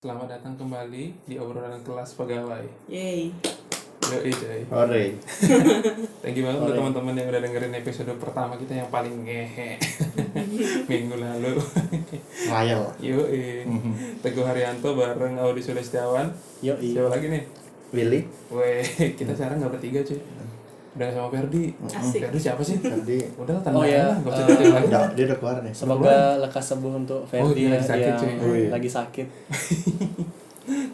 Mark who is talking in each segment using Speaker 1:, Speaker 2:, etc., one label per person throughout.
Speaker 1: Selamat datang kembali di obrolan kelas pegawai.
Speaker 2: Yay.
Speaker 1: Yoi, coy.
Speaker 3: Ore.
Speaker 1: Thank you banget untuk teman-teman yang udah dengerin episode pertama kita yang paling ngehe minggu lalu.
Speaker 3: Ngayal.
Speaker 1: Yoi.
Speaker 3: Mhm.
Speaker 1: Teguh Haryanto bareng Audi Sulistiawan.
Speaker 3: Yo
Speaker 1: Siapa lagi nih?
Speaker 3: Willy.
Speaker 1: Weh, kita sekarang nggak bertiga cuy.
Speaker 3: Iya.
Speaker 1: Udah nggak sama Ferdi.
Speaker 3: Mhm.
Speaker 2: Asik.
Speaker 1: Ferdi siapa sih?
Speaker 3: Tadi
Speaker 1: Udah lah, tanda
Speaker 4: Oh, iya.
Speaker 1: lah, nggak usah
Speaker 4: Eh,
Speaker 1: jauh lagi.
Speaker 3: udah dia udah keluar nih.
Speaker 4: Semoga lekas sembuh untuk
Speaker 1: Oh,
Speaker 4: Ferdi
Speaker 1: dia
Speaker 4: ya,
Speaker 1: lagi sakit,
Speaker 4: yang
Speaker 1: cuy.
Speaker 3: Oh, iya. kan
Speaker 4: lagi sakit.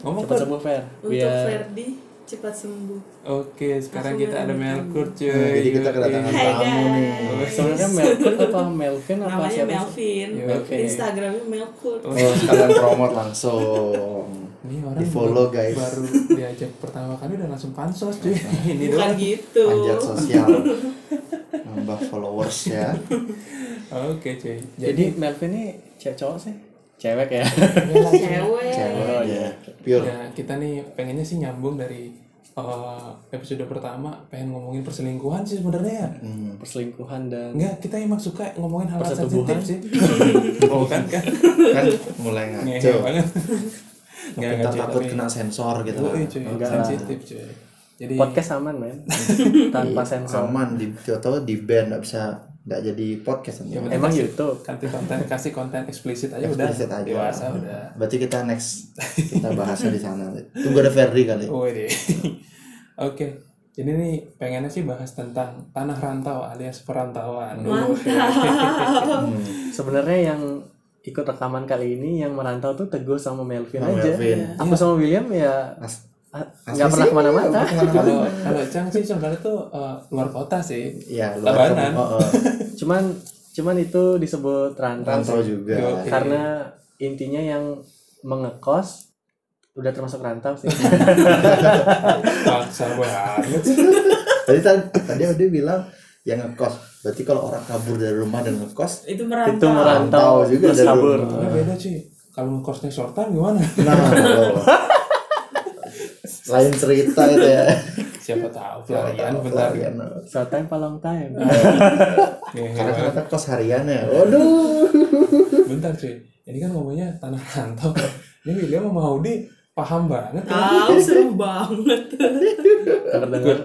Speaker 1: Ngomong
Speaker 4: Cepat
Speaker 1: Fer.
Speaker 4: sembuh Fer.
Speaker 2: Untuk
Speaker 4: Biar
Speaker 2: Ferdi cepat sembuh.
Speaker 1: Oke, sekarang
Speaker 2: Langsung
Speaker 1: kita ada
Speaker 2: bareng.
Speaker 1: Melkur cuy.
Speaker 3: Nah, jadi kita
Speaker 1: Yoi.
Speaker 3: kedatangan
Speaker 2: Hai,
Speaker 3: tamu
Speaker 2: guys.
Speaker 3: nih.
Speaker 4: sebenarnya Melvin apa Melvin apa
Speaker 2: Namanya
Speaker 4: siapa sih?
Speaker 2: Melvin.
Speaker 1: Yo.
Speaker 4: Melvin.
Speaker 2: Instagramnya Melkut.
Speaker 1: Oh,
Speaker 3: Oh, sekalian promote langsung.
Speaker 1: Ini orang
Speaker 3: Di follow
Speaker 1: baru-
Speaker 3: guys.
Speaker 1: baru diajak pertama kali udah langsung pansos cuy. Ini
Speaker 2: Bukan
Speaker 1: doang.
Speaker 2: gitu.
Speaker 3: Panjat sosial. Nambah followers ya.
Speaker 1: Oke cuy.
Speaker 4: Jadi Melvin ini cewek cowok sih? Cewek ya.
Speaker 2: Cewek.
Speaker 3: Cewek ya. Pure.
Speaker 1: ya kita nih pengennya sih nyambung dari eh, episode pertama pengen ngomongin perselingkuhan sih sebenarnya ya.
Speaker 3: Hmm.
Speaker 4: Perselingkuhan dan
Speaker 1: Enggak, kita emang suka ngomongin hal hal sensitif
Speaker 4: Persetubuhan.
Speaker 1: sih. oh kan kan.
Speaker 3: Kan mulai
Speaker 1: Ngehe
Speaker 3: ngaco.
Speaker 1: banget. Enggak
Speaker 3: Kita
Speaker 1: enggak cuy,
Speaker 3: takut
Speaker 1: iya. tapi-
Speaker 3: kena sensor gitu.
Speaker 1: Yoi, cuy,
Speaker 4: Enggak lah.
Speaker 1: sensitif cuy. Jadi
Speaker 4: podcast aman men. Tanpa sensor.
Speaker 3: Iya, Aman di atau di band nggak bisa nggak jadi podcast nanti.
Speaker 1: Ya, bener.
Speaker 4: Emang YouTube.
Speaker 1: kasih konten kasih konten eksplisit aja
Speaker 3: Eksplisit
Speaker 1: Ya udah
Speaker 3: aja. Hmm.
Speaker 1: dewasa udah.
Speaker 3: Berarti kita next kita bahasnya di sana. Tunggu ada Ferdi kali.
Speaker 1: Wede. Oh, iya. Oke. Jadi nih pengennya sih bahas tentang tanah rantau alias perantauan.
Speaker 2: Mantap.
Speaker 3: Hmm.
Speaker 4: Sebenarnya yang ikut rekaman kali ini yang merantau tuh Teguh sama Melvin
Speaker 3: Sama
Speaker 4: aja. Iya.
Speaker 3: Melvin.
Speaker 4: Aku sama William ya
Speaker 3: As-
Speaker 4: ah,
Speaker 3: asli
Speaker 4: nggak pernah
Speaker 3: sih,
Speaker 4: kemana-mana.
Speaker 3: nggak pernah kemana-mana.
Speaker 1: Kalau kalau Cang sih sebenarnya tuh eh, luar kota sih.
Speaker 3: Ya,
Speaker 1: Tabanan.
Speaker 3: kampung. Oh, oh.
Speaker 4: Cuman cuman itu disebut rantau.
Speaker 3: Rantau juga.
Speaker 1: Oke.
Speaker 4: karena
Speaker 3: iya.
Speaker 4: intinya yang mengekos udah termasuk rantau sih
Speaker 1: Paksa banget.
Speaker 3: Tadi tadi- tadi Ode bilang yang ngekos. Berarti kalau orang kabur dari rumah dan ngekos,
Speaker 2: Itu
Speaker 4: itu
Speaker 2: merantau.
Speaker 3: Rantau
Speaker 4: merantau
Speaker 3: juga
Speaker 4: terus
Speaker 3: dari
Speaker 4: kabur
Speaker 1: Karena beda cuy. Kalau ngekosnya shortan gimana?
Speaker 3: nah, loh. lain cerita itu ya.
Speaker 1: Siapa tahu pelarian bentar.
Speaker 3: Pelarian.
Speaker 4: short time palong time
Speaker 3: Iya.
Speaker 1: Ngehe
Speaker 3: Karena
Speaker 1: banget.
Speaker 3: ternyata kos harian ya. Waduh.
Speaker 1: Bentar cuy. Ini kan ngomongnya tanah rantau. Ini William sama Audi paham banget.
Speaker 2: Ah, seru banget.
Speaker 4: dengar dengar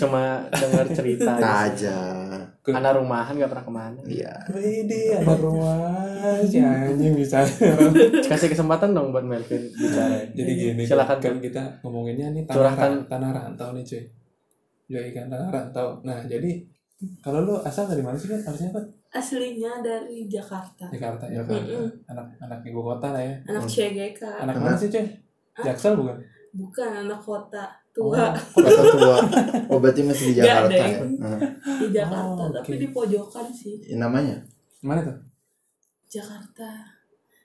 Speaker 4: cuma dengar cerita aja sih.
Speaker 3: Aja.
Speaker 1: Good.
Speaker 4: anak rumahan gak pernah kemana
Speaker 3: Iya.
Speaker 1: Wede ada rumah. Si anjing bisa.
Speaker 4: kasih kesempatan dong buat Melvin bicara
Speaker 1: Jadi gini,
Speaker 4: Silakan.
Speaker 1: kan kita ngomonginnya nih tanah,
Speaker 4: Curahkan.
Speaker 1: tanah rantau nih cuy. Jadi kan tanah rantau. Nah jadi kalau lu asal dari mana sih kan? Harusnya kan
Speaker 2: Aslinya dari Jakarta.
Speaker 1: Jakarta ya kan?
Speaker 2: Mm-mm.
Speaker 1: Anak anak ibu kota lah ya.
Speaker 2: Anak CGK.
Speaker 1: Anak mana sih cuy? Jaksel bukan?
Speaker 2: Bukan anak kota. Tua
Speaker 3: Kota tua. Oh, berarti masih di
Speaker 2: Nggak,
Speaker 3: Jakarta
Speaker 2: Deng.
Speaker 3: ya. Nah, ya
Speaker 2: di Jakarta.
Speaker 1: Oh,
Speaker 2: Tapi
Speaker 1: oke.
Speaker 2: di pojokan sih.
Speaker 3: namanya?
Speaker 1: Mana tuh?
Speaker 2: Jakarta.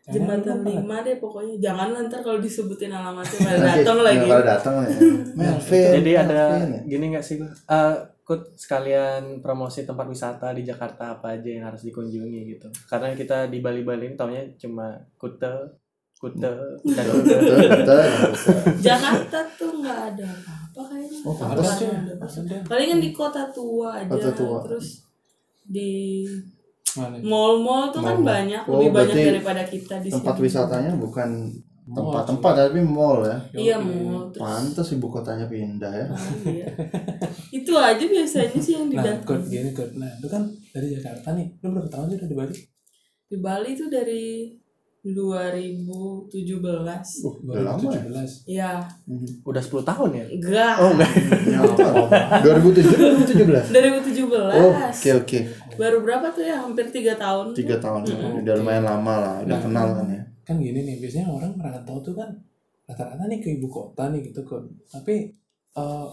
Speaker 1: Jangan
Speaker 2: Jembatan
Speaker 1: lupa.
Speaker 2: 5 deh pokoknya. Jangan lah, ntar kalau disebutin alamatnya pada
Speaker 3: Nanti,
Speaker 2: datang
Speaker 3: nah,
Speaker 2: lagi.
Speaker 3: Kalau datang ya. Melvin.
Speaker 4: jadi ada
Speaker 3: Melvin.
Speaker 4: gini nggak sih Eh, Kut sekalian promosi tempat wisata di Jakarta apa aja yang harus dikunjungi gitu karena kita di Bali Bali ini taunya cuma Kute Kute dan Kute
Speaker 3: Betul, betul.
Speaker 2: Jakarta tuh nggak ada apa-apa kayaknya.
Speaker 3: Oh,
Speaker 2: Nggak
Speaker 3: pantes
Speaker 1: Terus cuy,
Speaker 2: ada apa-apa.
Speaker 1: maksudnya
Speaker 2: Palingan di kota tua aja.
Speaker 3: Kota tua.
Speaker 2: Terus di
Speaker 1: mana?
Speaker 2: mall-mall tuh kan
Speaker 3: Mall-mall.
Speaker 2: banyak,
Speaker 3: Oh,
Speaker 2: lebih banyak
Speaker 3: berarti
Speaker 2: daripada kita di
Speaker 3: Tempat
Speaker 2: sini.
Speaker 3: wisatanya bukan tempat-tempat tapi mall ya.
Speaker 2: Iya,
Speaker 1: Oke.
Speaker 2: mall. Terus
Speaker 3: Pantas ibu kotanya pindah ya.
Speaker 2: Oh, iya. Itu aja biasanya sih yang
Speaker 1: Nah,
Speaker 2: didatang.
Speaker 1: Kurt, gini Kurt. Nah, lu kan dari Jakarta nih. Lu berapa tahun sih udah di Bali?
Speaker 2: Di Bali tuh dari 2017.
Speaker 1: Uh,
Speaker 3: udah lama ya?
Speaker 1: 17.
Speaker 2: Ya,
Speaker 4: udah 10 tahun ya
Speaker 2: enggak.
Speaker 4: oh enggak
Speaker 3: Ya, apa? 2007
Speaker 2: 2017.
Speaker 3: 2017. Oh, oke oke.
Speaker 2: Baru berapa tuh ya? Hampir 3 tahun.
Speaker 3: Tiga tahun udah lumayan lama lah, udah kenal kan ya.
Speaker 1: kan gini nih biasanya orang merantau tuh kan rata-rata nih ke ibu kota nih gitu kan tapi eh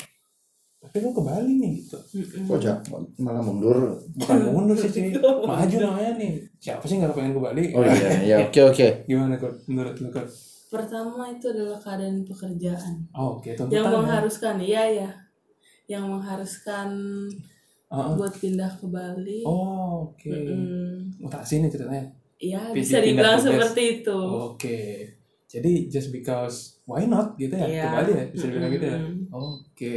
Speaker 1: tapi lu ke Bali nih gitu
Speaker 2: Mm-mm.
Speaker 3: Kok jak- malah mundur.
Speaker 1: bukan mundur sih cuy maju namanya nih siapa sih nggak pengen ke Bali
Speaker 3: Oh iya, ya oke oke.
Speaker 1: gimana kok menurut lu kok
Speaker 2: Pertama itu adalah keadaan pekerjaan
Speaker 1: Oh, oke,
Speaker 2: yang
Speaker 1: tuntutan. ya.
Speaker 2: mengharuskan, iya ya, yang mengharuskan
Speaker 1: Heeh.
Speaker 2: buat pindah ke Bali.
Speaker 1: Oh, oke.
Speaker 2: Mm-mm.
Speaker 1: Utak sini ceritanya.
Speaker 2: Iya
Speaker 1: Pindah- Oh,
Speaker 2: bisa
Speaker 1: pindah
Speaker 2: dibilang
Speaker 1: tugas.
Speaker 2: seperti itu.
Speaker 1: Oke. Jadi just because why not gitu ya?
Speaker 2: Iya.
Speaker 1: Kembali ya bisa dibilang gitu ya.
Speaker 2: Mm-mm.
Speaker 1: Oke.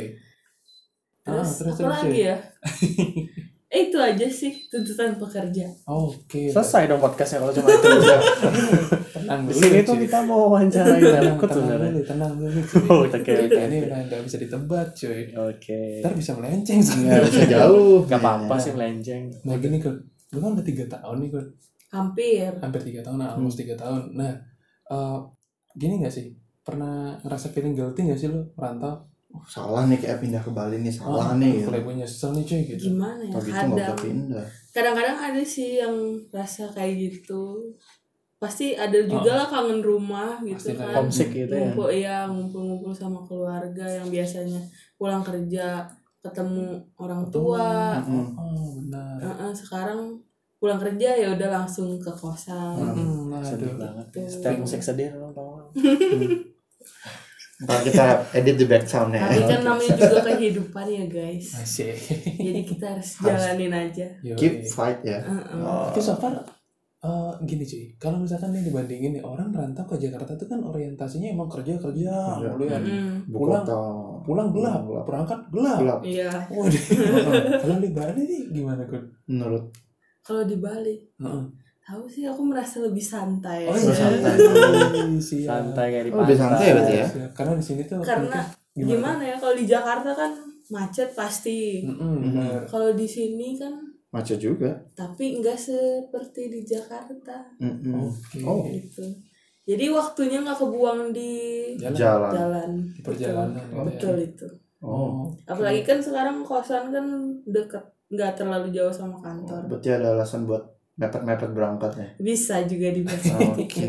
Speaker 1: Ah,
Speaker 2: Terus,
Speaker 1: terus,
Speaker 2: apa
Speaker 1: terus,
Speaker 2: lagi ya? eh, itu aja sih tuntutan pekerja.
Speaker 1: Oke.
Speaker 4: Selesai dong podcastnya kalau cuma itu. Iya. Udah.
Speaker 1: Tenang
Speaker 4: Di
Speaker 1: dulu.
Speaker 4: sini tuh
Speaker 1: Ci.
Speaker 4: kita mau wawancarain
Speaker 1: tenang,
Speaker 4: Elkut
Speaker 1: tenang
Speaker 4: sebenarnya.
Speaker 1: dulu, tenang dulu. Ci.
Speaker 4: Oh, oke, oke,
Speaker 1: Ini
Speaker 4: oke.
Speaker 1: udah nggak bisa ditebak, cuy.
Speaker 4: Oke.
Speaker 1: Ntar bisa melenceng
Speaker 4: Iya,
Speaker 3: nggak
Speaker 1: soalnya.
Speaker 3: bisa jauh
Speaker 4: Gak apa-apa sih melenceng.
Speaker 1: Nah gini kan, lu kan udah tiga tahun nih kan,
Speaker 2: Hampir.
Speaker 1: hampir tiga tahun, nah,
Speaker 3: Hmm.
Speaker 1: almost tiga tahun. Nah, eh, gini nggak sih? Pernah ngerasa feeling guilty nggak sih lu merantau?
Speaker 3: Oh, salah nih kayak pindah ke Bali nih
Speaker 1: Ah,
Speaker 3: salah nih
Speaker 1: Kalau gue nyesel nih cuy gitu.
Speaker 2: Gimana ya?
Speaker 3: kalau gitu nggak
Speaker 2: Kadang.
Speaker 3: usah pindah
Speaker 2: Kadang-kadang ada sih yang rasa kayak gitu. Pasti ada juga lah kangen rumah
Speaker 1: Pasti
Speaker 2: gitu
Speaker 1: kangen.
Speaker 2: kan.
Speaker 4: Homesick gitu ya.
Speaker 2: Ngumpul ya, ngumpul-ngumpul sama keluarga yang biasanya pulang kerja ketemu orang tua.
Speaker 3: Mm-mm.
Speaker 1: Oh benar.
Speaker 2: Heeh, sekarang pulang kerja ya udah langsung ke kosan.
Speaker 1: Hmm, nah,
Speaker 4: Sedih
Speaker 1: aduh.
Speaker 4: banget. ya. Setel musik sedih dong tolong.
Speaker 3: ntar kita edit di back soundnya ya.
Speaker 2: Tapi kan namanya juga kehidupan ya guys.
Speaker 1: Masih.
Speaker 2: Jadi kita harus
Speaker 3: Harus.
Speaker 2: jalanin aja.
Speaker 1: Yoi.
Speaker 3: keep Ah. fight ya
Speaker 1: ah.
Speaker 2: Heeh.
Speaker 3: Oh.
Speaker 1: Tapi so far, eh, gini cuy, kalau misalkan nih dibandingin nih, orang merantau ke Jakarta tuh kan orientasinya emang kerja kerja
Speaker 3: Kerja.
Speaker 1: mulu ya.
Speaker 2: Mm-mm.
Speaker 3: Ibu
Speaker 1: Pulang.
Speaker 3: kota.
Speaker 1: Pulang gelap,
Speaker 3: Iya. Hmm. Pulang gelap.
Speaker 1: berangkat gelap.
Speaker 3: Gelap.
Speaker 2: Iya.
Speaker 1: Waduh, kalau di Bali nih gimana Kun?
Speaker 3: menurut
Speaker 2: Kalau di Bali,
Speaker 1: Heeh.
Speaker 2: tahu sih aku merasa lebih santai.
Speaker 1: Oh
Speaker 3: iya,
Speaker 2: Ya.
Speaker 3: santai.
Speaker 1: Siap.
Speaker 4: Santai kayak di
Speaker 3: Oh, udah santai ya berarti ya?
Speaker 1: Siap. Iya, Karena di sini tuh
Speaker 2: Karena
Speaker 1: mungkin-
Speaker 2: Gimana ya kalau di Jakarta kan macet pasti.
Speaker 1: Mm-mm, benar.
Speaker 2: Kalau di sini kan
Speaker 3: macet juga
Speaker 2: tapi enggak seperti di Jakarta
Speaker 3: Mm-mm.
Speaker 1: Oke.
Speaker 3: Oh.
Speaker 2: gitu. Jadi waktunya nggak kebuang di
Speaker 1: Jalan.
Speaker 3: jalan
Speaker 2: jalan.
Speaker 1: Di perjalanan.
Speaker 2: Betul.
Speaker 1: gitu ya.
Speaker 2: Betul itu.
Speaker 3: oh
Speaker 1: Oke.
Speaker 2: Apalagi kan sekarang kosan kan deket nggak terlalu jauh sama kantor.
Speaker 3: berarti ada alasan buat mepet-mepet ya? berangkatnya
Speaker 2: Bisa juga dibilang
Speaker 3: Oh,
Speaker 2: gitu.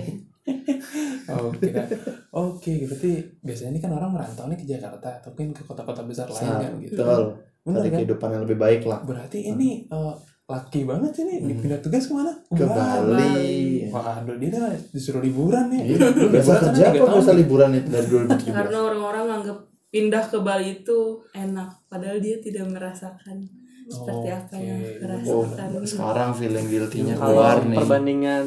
Speaker 1: Oke, dah. oke. Berarti biasanya ini kan orang merantau nih ke Jakarta atau mungkin ke kota-kota besar lain kan gitu.
Speaker 3: betul
Speaker 1: Benar
Speaker 3: cari
Speaker 1: kan?
Speaker 3: kehidupan yang lebih baik lah
Speaker 1: Berarti ini eh, laki banget ini
Speaker 3: Hmm.
Speaker 1: dipindah tugas kemana?
Speaker 3: ke
Speaker 2: Iya,
Speaker 3: Bali
Speaker 1: Waduh, dia dah disuruh liburan ya.
Speaker 3: Iya, lu biasa
Speaker 1: Liburan
Speaker 3: kerja
Speaker 1: kan
Speaker 3: apa
Speaker 1: tiga tahun
Speaker 3: biasa
Speaker 1: nih.
Speaker 3: liburan itu dari 2017
Speaker 2: Karena orang-orang anggap pindah ke Bali itu enak, padal dia tidak merasakan seperti apa
Speaker 1: Oke. Iya,
Speaker 2: yang
Speaker 3: oh
Speaker 2: dirasakan.
Speaker 3: sekarang feeling guilty-nya ya? keluar
Speaker 4: Kalau
Speaker 3: nih
Speaker 4: perbandingan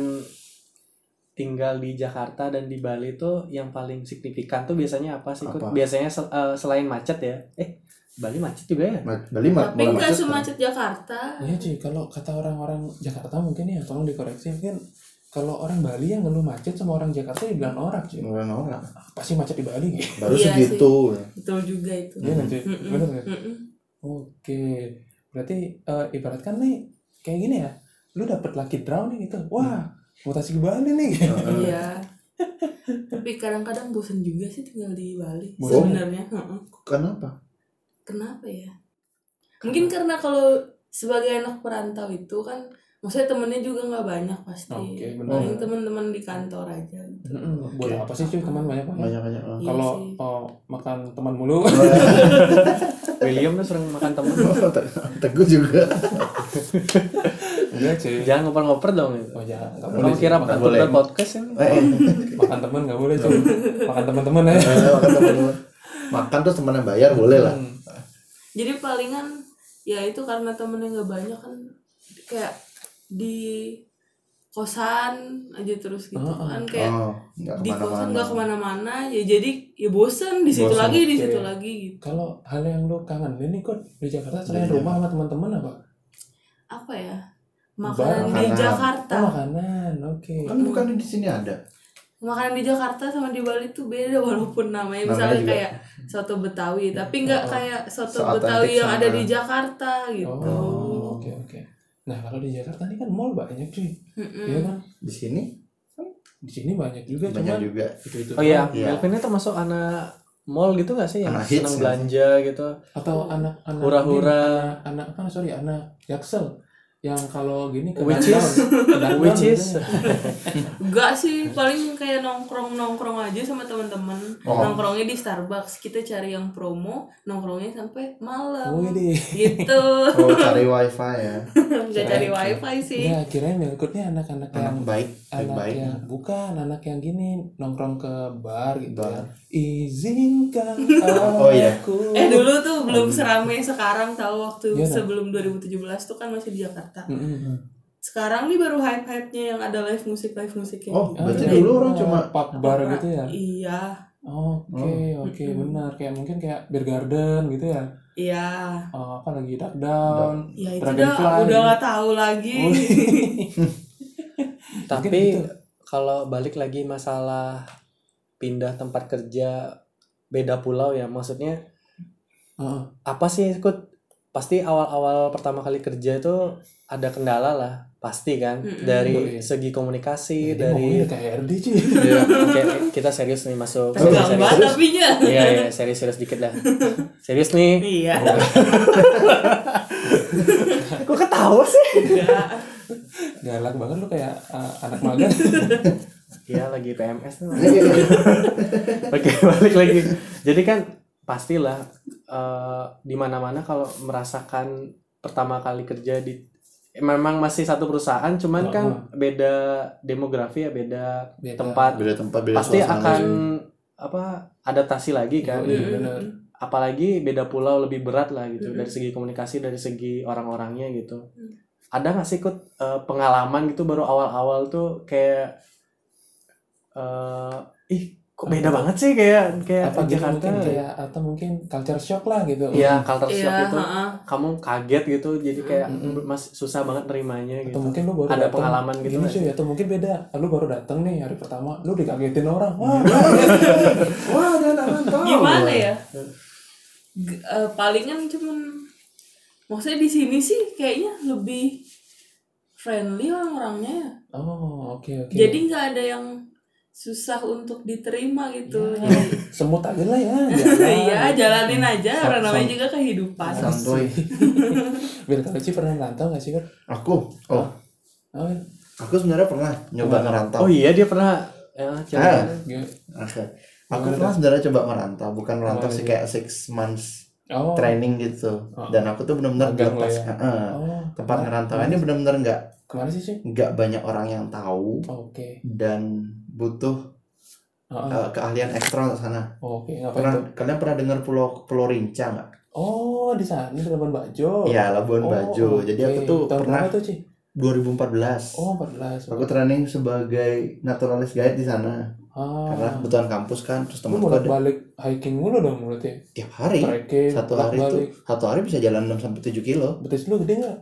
Speaker 4: tinggal di Jakarta dan di Bali tuh yang paling signifikan tuh biasanya apa sih? Kut?
Speaker 3: Apa?
Speaker 4: Biasanya sel- eh, selain macet ya. Eh, Bali macet juga ya?
Speaker 3: Ma- Bali mah
Speaker 2: Tapi
Speaker 3: mulai
Speaker 2: nggak
Speaker 3: macet kan?
Speaker 2: semacet Jakarta.
Speaker 1: Iya cuy, kalau kata orang-orang Jakarta mungkin ya, tolong dikoreksi mungkin kalau orang Bali yang ngeluh macet sama orang Jakarta dibilang norak
Speaker 3: kan?
Speaker 1: cuy.
Speaker 3: Mm. orang-orang
Speaker 1: Pasti macet di Bali gitu.
Speaker 3: baru
Speaker 2: Iya
Speaker 3: segitu
Speaker 2: Betul juga itu.
Speaker 1: Iya nggak, cuy?
Speaker 2: Mm-mm.
Speaker 1: Bener nggak?
Speaker 2: Mm-mm.
Speaker 1: Oke, berarti eh, ibaratkan nih kayak gini ya, lu dapet lucky draw nih gitu, wah mutasi ke Bali nih.
Speaker 3: Heeh.
Speaker 2: Iya. Tapi kadang-kadang bosan juga sih tinggal di Bali.
Speaker 1: Bosan.
Speaker 2: Sebenarnya, heeh. Iya.
Speaker 3: kenapa
Speaker 2: kenapa ya? Mungkin karena kalau sebagai anak perantau itu kan, maksudnya temennya juga nggak banyak pasti.
Speaker 1: Oke, benar.
Speaker 2: Paling teman-teman di kantor aja.
Speaker 1: Mm-mm, Buat
Speaker 3: Oke.
Speaker 1: apa sih cuy teman banyak banget?
Speaker 3: banyak-banyak orang. Oh, iya.
Speaker 2: Iya
Speaker 1: Kalau
Speaker 2: sih.
Speaker 1: oh, makan teman mulu,
Speaker 4: William tuh sering makan temen.
Speaker 3: teguh Oh, juga
Speaker 1: enggak cuy.
Speaker 4: Jangan ngoper-ngoper dong itu.
Speaker 1: Oh jangan, Iya nggak boleh
Speaker 4: Kamu
Speaker 1: cuy.
Speaker 4: kira
Speaker 1: makan,
Speaker 4: makan
Speaker 3: boleh.
Speaker 4: temen podcast ya. ini?
Speaker 3: Eh,
Speaker 1: makan teman nggak boleh cuy, makan teman-teman ya.
Speaker 3: Eh, makan temen-temen. makan terus temen yang bayar boleh lah
Speaker 1: Hmm.
Speaker 2: Jadi palingan ya itu karena temennya nggak banyak kan kayak di kosan aja terus gitu
Speaker 1: Heeh.
Speaker 2: kan kayak
Speaker 3: oh nggak
Speaker 2: di kosan nggak
Speaker 3: kemana-mana
Speaker 2: kemana-mana ya jadi ya bosen di situ
Speaker 1: Bosen,
Speaker 2: lagi di
Speaker 1: oke.
Speaker 2: situ lagi gitu
Speaker 1: Kalau hal yang lu kangen ini kok di Jakarta selain
Speaker 3: Iya.
Speaker 1: rumah sama teman-teman apa?
Speaker 2: apa ya makanan di
Speaker 3: Makanan.
Speaker 2: Jakarta
Speaker 1: Oh, makanan, oke.
Speaker 3: kan
Speaker 4: Iya.
Speaker 3: bukan di sini ada
Speaker 2: makanan di Jakarta sama di Bali tuh beda walaupun namanya
Speaker 3: Namanya
Speaker 2: misalnya
Speaker 3: juga.
Speaker 2: kayak soto Betawi tapi nggak
Speaker 1: Oh.
Speaker 2: kayak soto
Speaker 3: Seotentik
Speaker 2: Betawi yang ada
Speaker 3: sama-
Speaker 2: di Jakarta gitu
Speaker 1: Oh, oke oke. Nah kalau di Jakarta ini kan mall banyak cuy,
Speaker 2: Mm-mm.
Speaker 1: Iya kan?
Speaker 3: di sini
Speaker 1: Di sini banyak juga,
Speaker 3: banyak
Speaker 1: cuman
Speaker 3: juga
Speaker 1: itu-itu
Speaker 4: Oh iya,
Speaker 3: Iya.
Speaker 4: Melvin ini termasuk anak mall gitu gak sih yang
Speaker 3: Anak hits ya.
Speaker 4: senang
Speaker 3: nggak
Speaker 4: belanja gitu?
Speaker 1: atau anak-anak
Speaker 4: Hura-hura.
Speaker 1: anak, anak apa sorry anak jaksel yang kalau gini ke
Speaker 4: Which
Speaker 1: downtown,
Speaker 4: is-
Speaker 1: ke downtown
Speaker 4: Which is
Speaker 1: gitu.
Speaker 2: Enggak sih, paling kayak nongkrong-nongkrong aja sama teman-teman.
Speaker 3: Oh.
Speaker 2: Nongkrongnya di Starbucks. Kita cari yang promo, nongkrongnya sampai malam.
Speaker 1: Widih.
Speaker 2: Gitu.
Speaker 3: Oh cari wifi ya.
Speaker 2: Enggak cari wifi sih.
Speaker 1: Ya, kirain milkutnya anak-anak
Speaker 3: Anak
Speaker 1: yang
Speaker 3: baik, baik
Speaker 1: anak
Speaker 3: baik.
Speaker 1: yang bukan anak yang gini nongkrong ke bar gitu ya.
Speaker 3: Bar.
Speaker 1: Izinkan
Speaker 3: Oh, iya.
Speaker 1: aku.
Speaker 2: Eh dulu tuh belum seramai sekarang tahu waktu
Speaker 1: Iya, nah.
Speaker 2: sebelum 2017 tuh kan masih di Jakarta.
Speaker 1: Mm-mm.
Speaker 2: Sekarang nih baru hype-hype-nya yang ada live musik gitu. Nah, live musiknya.
Speaker 3: Oh,
Speaker 1: Ah,
Speaker 3: Berarti
Speaker 1: iya.
Speaker 3: dulu orang cuma-
Speaker 1: pub bar gitu ya.
Speaker 2: Iya,
Speaker 1: Oke,
Speaker 3: Oh.
Speaker 1: oke,
Speaker 2: Mm-mm.
Speaker 1: benar. Kayak mungkin kayak beer garden gitu ya.
Speaker 2: iya.
Speaker 1: Eh, apa lagi duck down.
Speaker 2: Ya itu
Speaker 1: Dragonfly.
Speaker 2: udah udah nggak tahu lagi.
Speaker 4: Tapi kalau balik lagi masalah pindah tempat kerja beda pulau ya, maksudnya
Speaker 1: Heeh.
Speaker 4: apa sih ikut? Pasti awal-awal pertama kali kerja itu ada kendala lah, pasti kan
Speaker 2: Mm-mm.
Speaker 1: Iya.
Speaker 4: dari segi
Speaker 1: Jadi
Speaker 4: komunikasi, dari
Speaker 1: ngomongnya kayak RD sih.
Speaker 4: Iya, oke, kita serius nih masuk.
Speaker 2: Tegang
Speaker 4: Serius.
Speaker 2: banget tapinya.
Speaker 4: Iya, iya, serius-serius dikit lah. Serius nih.
Speaker 2: Iya.
Speaker 4: Kok ketawa sih?
Speaker 2: Enggak.
Speaker 1: Galak banget lu kayak eh, anak magang.
Speaker 4: Iya, lagi PMS tuh.
Speaker 3: Iya, iya.
Speaker 4: Oke balik lagi. Jadi kan pastilah eh, di mana-mana kalau merasakan pertama kali kerja di memang masih satu perusahaan, cuman kan beda demografi ya beda,
Speaker 1: Beda.
Speaker 4: tempat.
Speaker 3: Beda tempat beda
Speaker 4: Pasti
Speaker 3: suasana
Speaker 4: akan
Speaker 3: sih.
Speaker 4: apa adaptasi lagi kan.
Speaker 1: Iya, benar.
Speaker 4: Apalagi beda pulau lebih berat lah gitu
Speaker 2: Mm-mm.
Speaker 4: dari segi komunikasi dari segi orang-orangnya gitu.
Speaker 2: Mm.
Speaker 4: Ada nggak sih ikut pengalaman gitu baru awal-awal tuh kayak eh ih kok beda banget sih kayak kayak
Speaker 1: Apa gitu
Speaker 4: Jakarta
Speaker 1: mungkin kayak atau mungkin culture shock lah gitu.
Speaker 4: Iya, culture
Speaker 2: Iya,
Speaker 4: shock itu
Speaker 2: heeh.
Speaker 4: kamu kaget gitu, jadi kayak
Speaker 1: Mm-mm.
Speaker 4: mas susah banget nerimanya
Speaker 1: Atau
Speaker 4: gitu.
Speaker 1: mungkin lu baru
Speaker 4: Ada
Speaker 1: datang,
Speaker 4: pengalaman gitu
Speaker 1: gini
Speaker 4: nggak
Speaker 1: cuy, atau mungkin beda. Lu baru datang nih hari pertama, lu dikagetin orang. Wah,
Speaker 3: Wah, ada anak rantau.
Speaker 2: Gimana ya? G- eh, palingan cuman maksudnya di sini sih kayaknya lebih friendly orang-orangnya ya.
Speaker 1: Oh, oke oke.
Speaker 2: Jadi nggak ada yang susah untuk diterima gitu. Jadi-
Speaker 1: semut aja lah ya.
Speaker 2: Iya, jalanin aja. Orang
Speaker 3: Sam-
Speaker 2: namanya
Speaker 3: sam-
Speaker 2: juga kehidupan.
Speaker 3: Santuy.
Speaker 1: Biar kalau sih pernah nantau nggak sih kan?
Speaker 3: Aku, oh,
Speaker 1: Oh,
Speaker 4: Ah.
Speaker 1: iya.
Speaker 3: aku sebenarnya pernah nyoba ngerantau.
Speaker 4: Oh iya dia pernah ya,
Speaker 1: Oh.
Speaker 3: Ah,
Speaker 4: cerita.
Speaker 1: Gimana?
Speaker 3: oke. Aku pernah sebenarnya coba merantau, bukan merantau sih kayak six months
Speaker 1: Oh,
Speaker 3: training gitu.
Speaker 1: Oh.
Speaker 3: Dan aku tuh benar-benar
Speaker 1: Magang
Speaker 3: dilepas.
Speaker 1: lah ya.
Speaker 3: Heeh.
Speaker 1: oh,
Speaker 3: Tempat ngerantau ini benar-benar nggak
Speaker 1: kemana sih sih?
Speaker 3: nggak banyak orang yang tahu
Speaker 1: Oke.
Speaker 3: dan butuh
Speaker 1: Oh,
Speaker 3: eh,
Speaker 4: Ah.
Speaker 3: keahlian ekstra untuk sana.
Speaker 1: Oke, ngapain tuh?
Speaker 3: Pernah kalian pernah dengar Pulau Pulau Rinca nggak?
Speaker 1: Oh, di sana di Labuan Bajo.
Speaker 3: Iya, Labuan
Speaker 1: Oh,
Speaker 3: Bajo. Jadi
Speaker 1: oke.
Speaker 3: aku tuh
Speaker 1: Tahun
Speaker 3: pernah
Speaker 1: berapa tuh, Ci?
Speaker 3: 2014.
Speaker 1: Oh, 14.
Speaker 3: Aku training sebagai naturalis guide di sana
Speaker 1: ah.
Speaker 3: karena kebutuhan kampus kan terus
Speaker 1: Lu
Speaker 3: temanku
Speaker 1: bolak
Speaker 3: ada
Speaker 1: balik hiking mulu dong menurut ya?
Speaker 3: tiap hari
Speaker 1: Trekking,
Speaker 3: satu hari itu
Speaker 1: bolak-balik.
Speaker 3: satu hari bisa jalan 6 sampai 7 kilo.
Speaker 1: Betis lu gede nggak?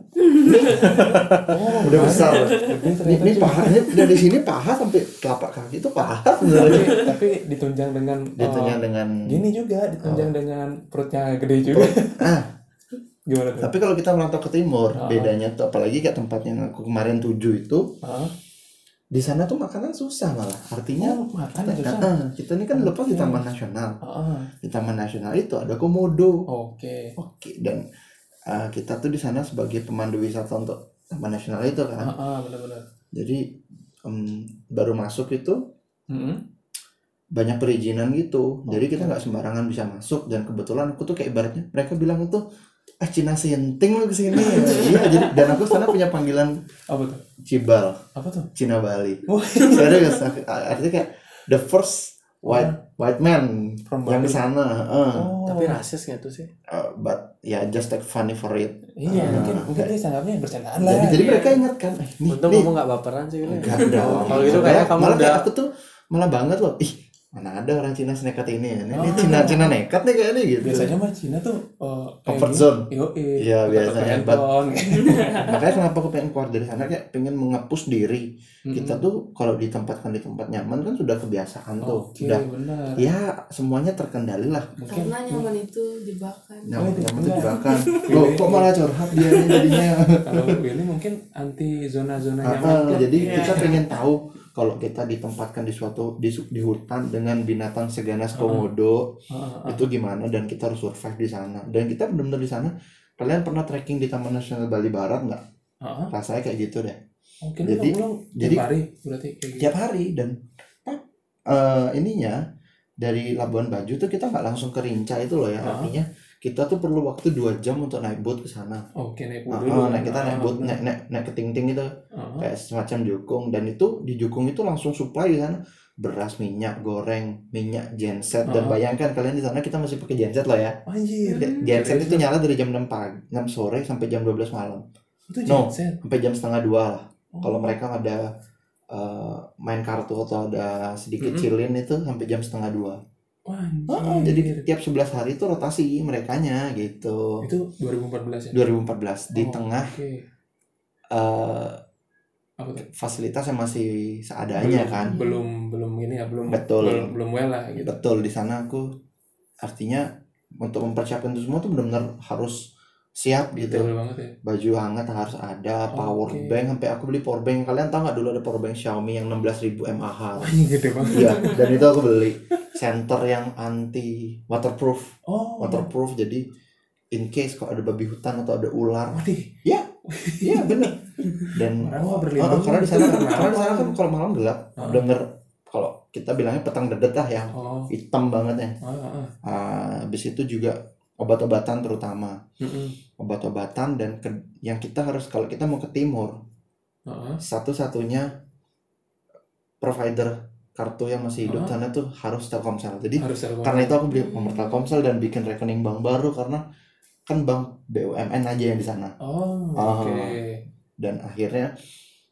Speaker 1: oh,
Speaker 3: Udah besar.
Speaker 1: Gede
Speaker 3: Ini,
Speaker 1: ternyata,
Speaker 3: ini
Speaker 1: Ci.
Speaker 3: paha ini dari sini paha sampai telapak kaki itu paha sebenarnya.
Speaker 1: Tapi, tapi ditunjang dengan eh,
Speaker 3: Ditunjang dengan
Speaker 1: Iya. gini juga ditunjang dengan perutnya gede juga.
Speaker 3: Perut. Oh. Ah,
Speaker 1: Gimana tuh?
Speaker 3: tapi kalau kita merantau ke timur,
Speaker 1: Ah.
Speaker 3: bedanya tuh apalagi kayak tempat yang aku kemarin tuju itu,
Speaker 1: Hah?
Speaker 3: di sana tuh makanan susah malah. Artinya
Speaker 1: Oh, makan
Speaker 3: kita,
Speaker 1: susah. Iya.
Speaker 3: Ah, kita ini kan lepas di
Speaker 1: Oke.
Speaker 3: Taman Nasional.
Speaker 1: Heeh.
Speaker 3: Di Taman Nasional itu ada komodo.
Speaker 1: Oke.
Speaker 3: Oke, dan ah, kita tuh di sana sebagai pemandu wisata untuk Taman Nasional itu kan.
Speaker 1: Heeh, Ah, benar-benar.
Speaker 3: Jadi em, baru masuk itu
Speaker 1: Heeh.
Speaker 3: banyak perizinan gitu. Jadi
Speaker 1: Oke.
Speaker 3: kita nggak sembarangan bisa masuk dan kebetulan aku tuh kayak ibaratnya mereka bilang itu ah Cina senting lu kesini iya jadi dan aku sana punya panggilan
Speaker 1: Apa tuh?
Speaker 3: Cibal
Speaker 1: Apa tuh?
Speaker 3: Cina Bali
Speaker 1: Wah,
Speaker 3: serius aku- artinya kayak the first white white man
Speaker 1: From
Speaker 3: yang
Speaker 1: Bali.
Speaker 3: ke sana heeh.
Speaker 1: Ah. Oh,
Speaker 4: Tapi rasis nggak tuh sih?
Speaker 3: Uh, but ya just take funny for it
Speaker 1: iya,
Speaker 3: Ah,
Speaker 1: mungkin
Speaker 3: oke.
Speaker 1: mungkin dia sanggapnya bercandaan lah.
Speaker 3: jadi, jadi
Speaker 2: iya.
Speaker 3: mereka ingat kan eh, nih,
Speaker 4: Untung
Speaker 3: nih.
Speaker 4: kamu nggak baperan sih. Wil.
Speaker 3: Enggak dong.
Speaker 4: Kalau gitu kayak kamu
Speaker 3: malah kayak
Speaker 4: udah-
Speaker 3: aku tuh malah banget loh ih mana ada orang Cina senekat ini ya ini
Speaker 4: Oh.
Speaker 3: ini Cina Cina nekat nih kayaknya gitu
Speaker 1: Biasanya mah Cina tuh eh, kayak
Speaker 3: Comfort
Speaker 1: gini.
Speaker 3: zone.
Speaker 1: Yo,
Speaker 3: Iya, biasanya, but-
Speaker 4: gitu.
Speaker 3: makanya kenapa aku pengen keluar dari sana kayak pengen mengapus
Speaker 4: Hmm.
Speaker 3: diri kita
Speaker 1: Hmm.
Speaker 3: tuh kalau ditempatkan di tempat nyaman kan sudah kebiasaan tuh
Speaker 1: Oke,
Speaker 3: udah
Speaker 1: benar.
Speaker 3: ya semuanya terkendali lah
Speaker 1: Mungkin
Speaker 2: Karena nyaman itu jebakan.
Speaker 3: nyaman
Speaker 1: itu
Speaker 3: nyaman
Speaker 4: Oh,
Speaker 3: tuh
Speaker 4: iya.
Speaker 1: benar.
Speaker 3: jebakan Loh, kok malah curhat dia nih jadinya
Speaker 1: kalau Willy mungkin anti zona-zona
Speaker 3: Ah,
Speaker 1: nyaman.
Speaker 3: ah, jadi
Speaker 2: Iya.
Speaker 3: kita pengen tahu kalau kita ditempatkan di suatu di, su- di hutan dengan binatang seganas komodo
Speaker 1: Heeh, heeh.
Speaker 3: itu gimana dan kita harus survive di sana dan kita benar-benar di sana kalian pernah trekking di Taman Nasional Bali Barat nggak
Speaker 1: Heeh.
Speaker 3: rasanya kayak gitu deh
Speaker 1: Ah, Mungkin
Speaker 3: Jadi-
Speaker 1: jadi, pulang
Speaker 3: jadi-
Speaker 1: jadi hari berarti kayak gitu.
Speaker 3: tiap hari dan apa, eh, ininya dari Labuan Bajo tuh kita nggak langsung ke Rinca itu loh ya
Speaker 1: Ah.
Speaker 3: artinya kita tuh perlu waktu dua jam untuk naik boat ke sana.
Speaker 1: Oke naik boat
Speaker 3: Ah,
Speaker 1: dulu. Ah,
Speaker 3: ah, nah kita naik boat naik naik naik ke Ting Ting itu
Speaker 1: Heeh.
Speaker 3: kayak semacam jukung dan itu di jukung itu langsung supply di sana beras minyak goreng minyak genset dan
Speaker 1: Ah.
Speaker 3: bayangkan kalian di sana kita masih pakai genset lah ya
Speaker 1: Anjir.
Speaker 2: Hmm.
Speaker 3: genset
Speaker 1: Genset.
Speaker 3: itu nyala dari jam 6 pagi 6 sore sampai jam 12 malam
Speaker 1: Itu
Speaker 3: No.
Speaker 1: genset.
Speaker 3: sampai jam setengah dua lah
Speaker 1: Oh.
Speaker 3: kalau mereka ada eh, main kartu atau ada sedikit
Speaker 1: Mm-mm.
Speaker 3: cilin itu sampai jam setengah dua
Speaker 1: Wah,
Speaker 3: Oh,
Speaker 1: Ah, anjir.
Speaker 3: jadi tiap 11 hari itu rotasi merekanya gitu
Speaker 1: itu 2014 ya.
Speaker 3: 2014 di
Speaker 1: Oh,
Speaker 3: tengah
Speaker 1: Oke.
Speaker 3: eh,
Speaker 1: Apa tuh?
Speaker 3: fasilitas yang masih seadanya
Speaker 1: Belum-
Speaker 3: kan
Speaker 1: Belum belum ini ya, belum
Speaker 3: Betul.
Speaker 1: belum, belum well lah gitu.
Speaker 3: Iya, betul di sana aku artinya untuk mempersiapkan itu semua tuh benar-benar harus siap gitu
Speaker 1: Betul banget ya.
Speaker 3: baju hangat harus ada power
Speaker 1: Oke.
Speaker 3: bank sampai aku beli power bank kalian tahu nggak dulu ada power bank Xiaomi yang 16.000 mAh
Speaker 1: Wah, ini gede banget.
Speaker 3: Iya, dan itu aku beli center yang anti waterproof
Speaker 1: Oh.
Speaker 3: waterproof jadi in case kalau ada babi hutan atau ada ular
Speaker 1: Waduh.
Speaker 3: Iya bener dan
Speaker 1: Orang mah
Speaker 3: Oh,
Speaker 1: berlindung.
Speaker 3: oh, karena di sana
Speaker 1: Kenapa?
Speaker 3: karena di sana kan kalau malam gelap
Speaker 1: Ah.
Speaker 3: denger kalau kita bilangnya petang dedet lah yang
Speaker 1: Oh.
Speaker 3: hitam banget ya
Speaker 1: Ah, ah, ah.
Speaker 3: Ah, habis itu juga obat-obatan terutama
Speaker 1: Mm-mm.
Speaker 3: obat-obatan dan ke- yang kita harus kalau kita mau ke timur
Speaker 1: Ah, ah.
Speaker 3: satu-satunya provider kartu yang masih hidup
Speaker 1: Ah.
Speaker 3: sana tuh harus Telkomsel jadi
Speaker 1: Harus ada
Speaker 3: Iya. karena itu aku beli nomor Telkomsel dan bikin rekening bank baru karena kan bank BUMN aja yang di sana
Speaker 1: Oh,
Speaker 3: Ah.
Speaker 1: oke.
Speaker 3: dan akhirnya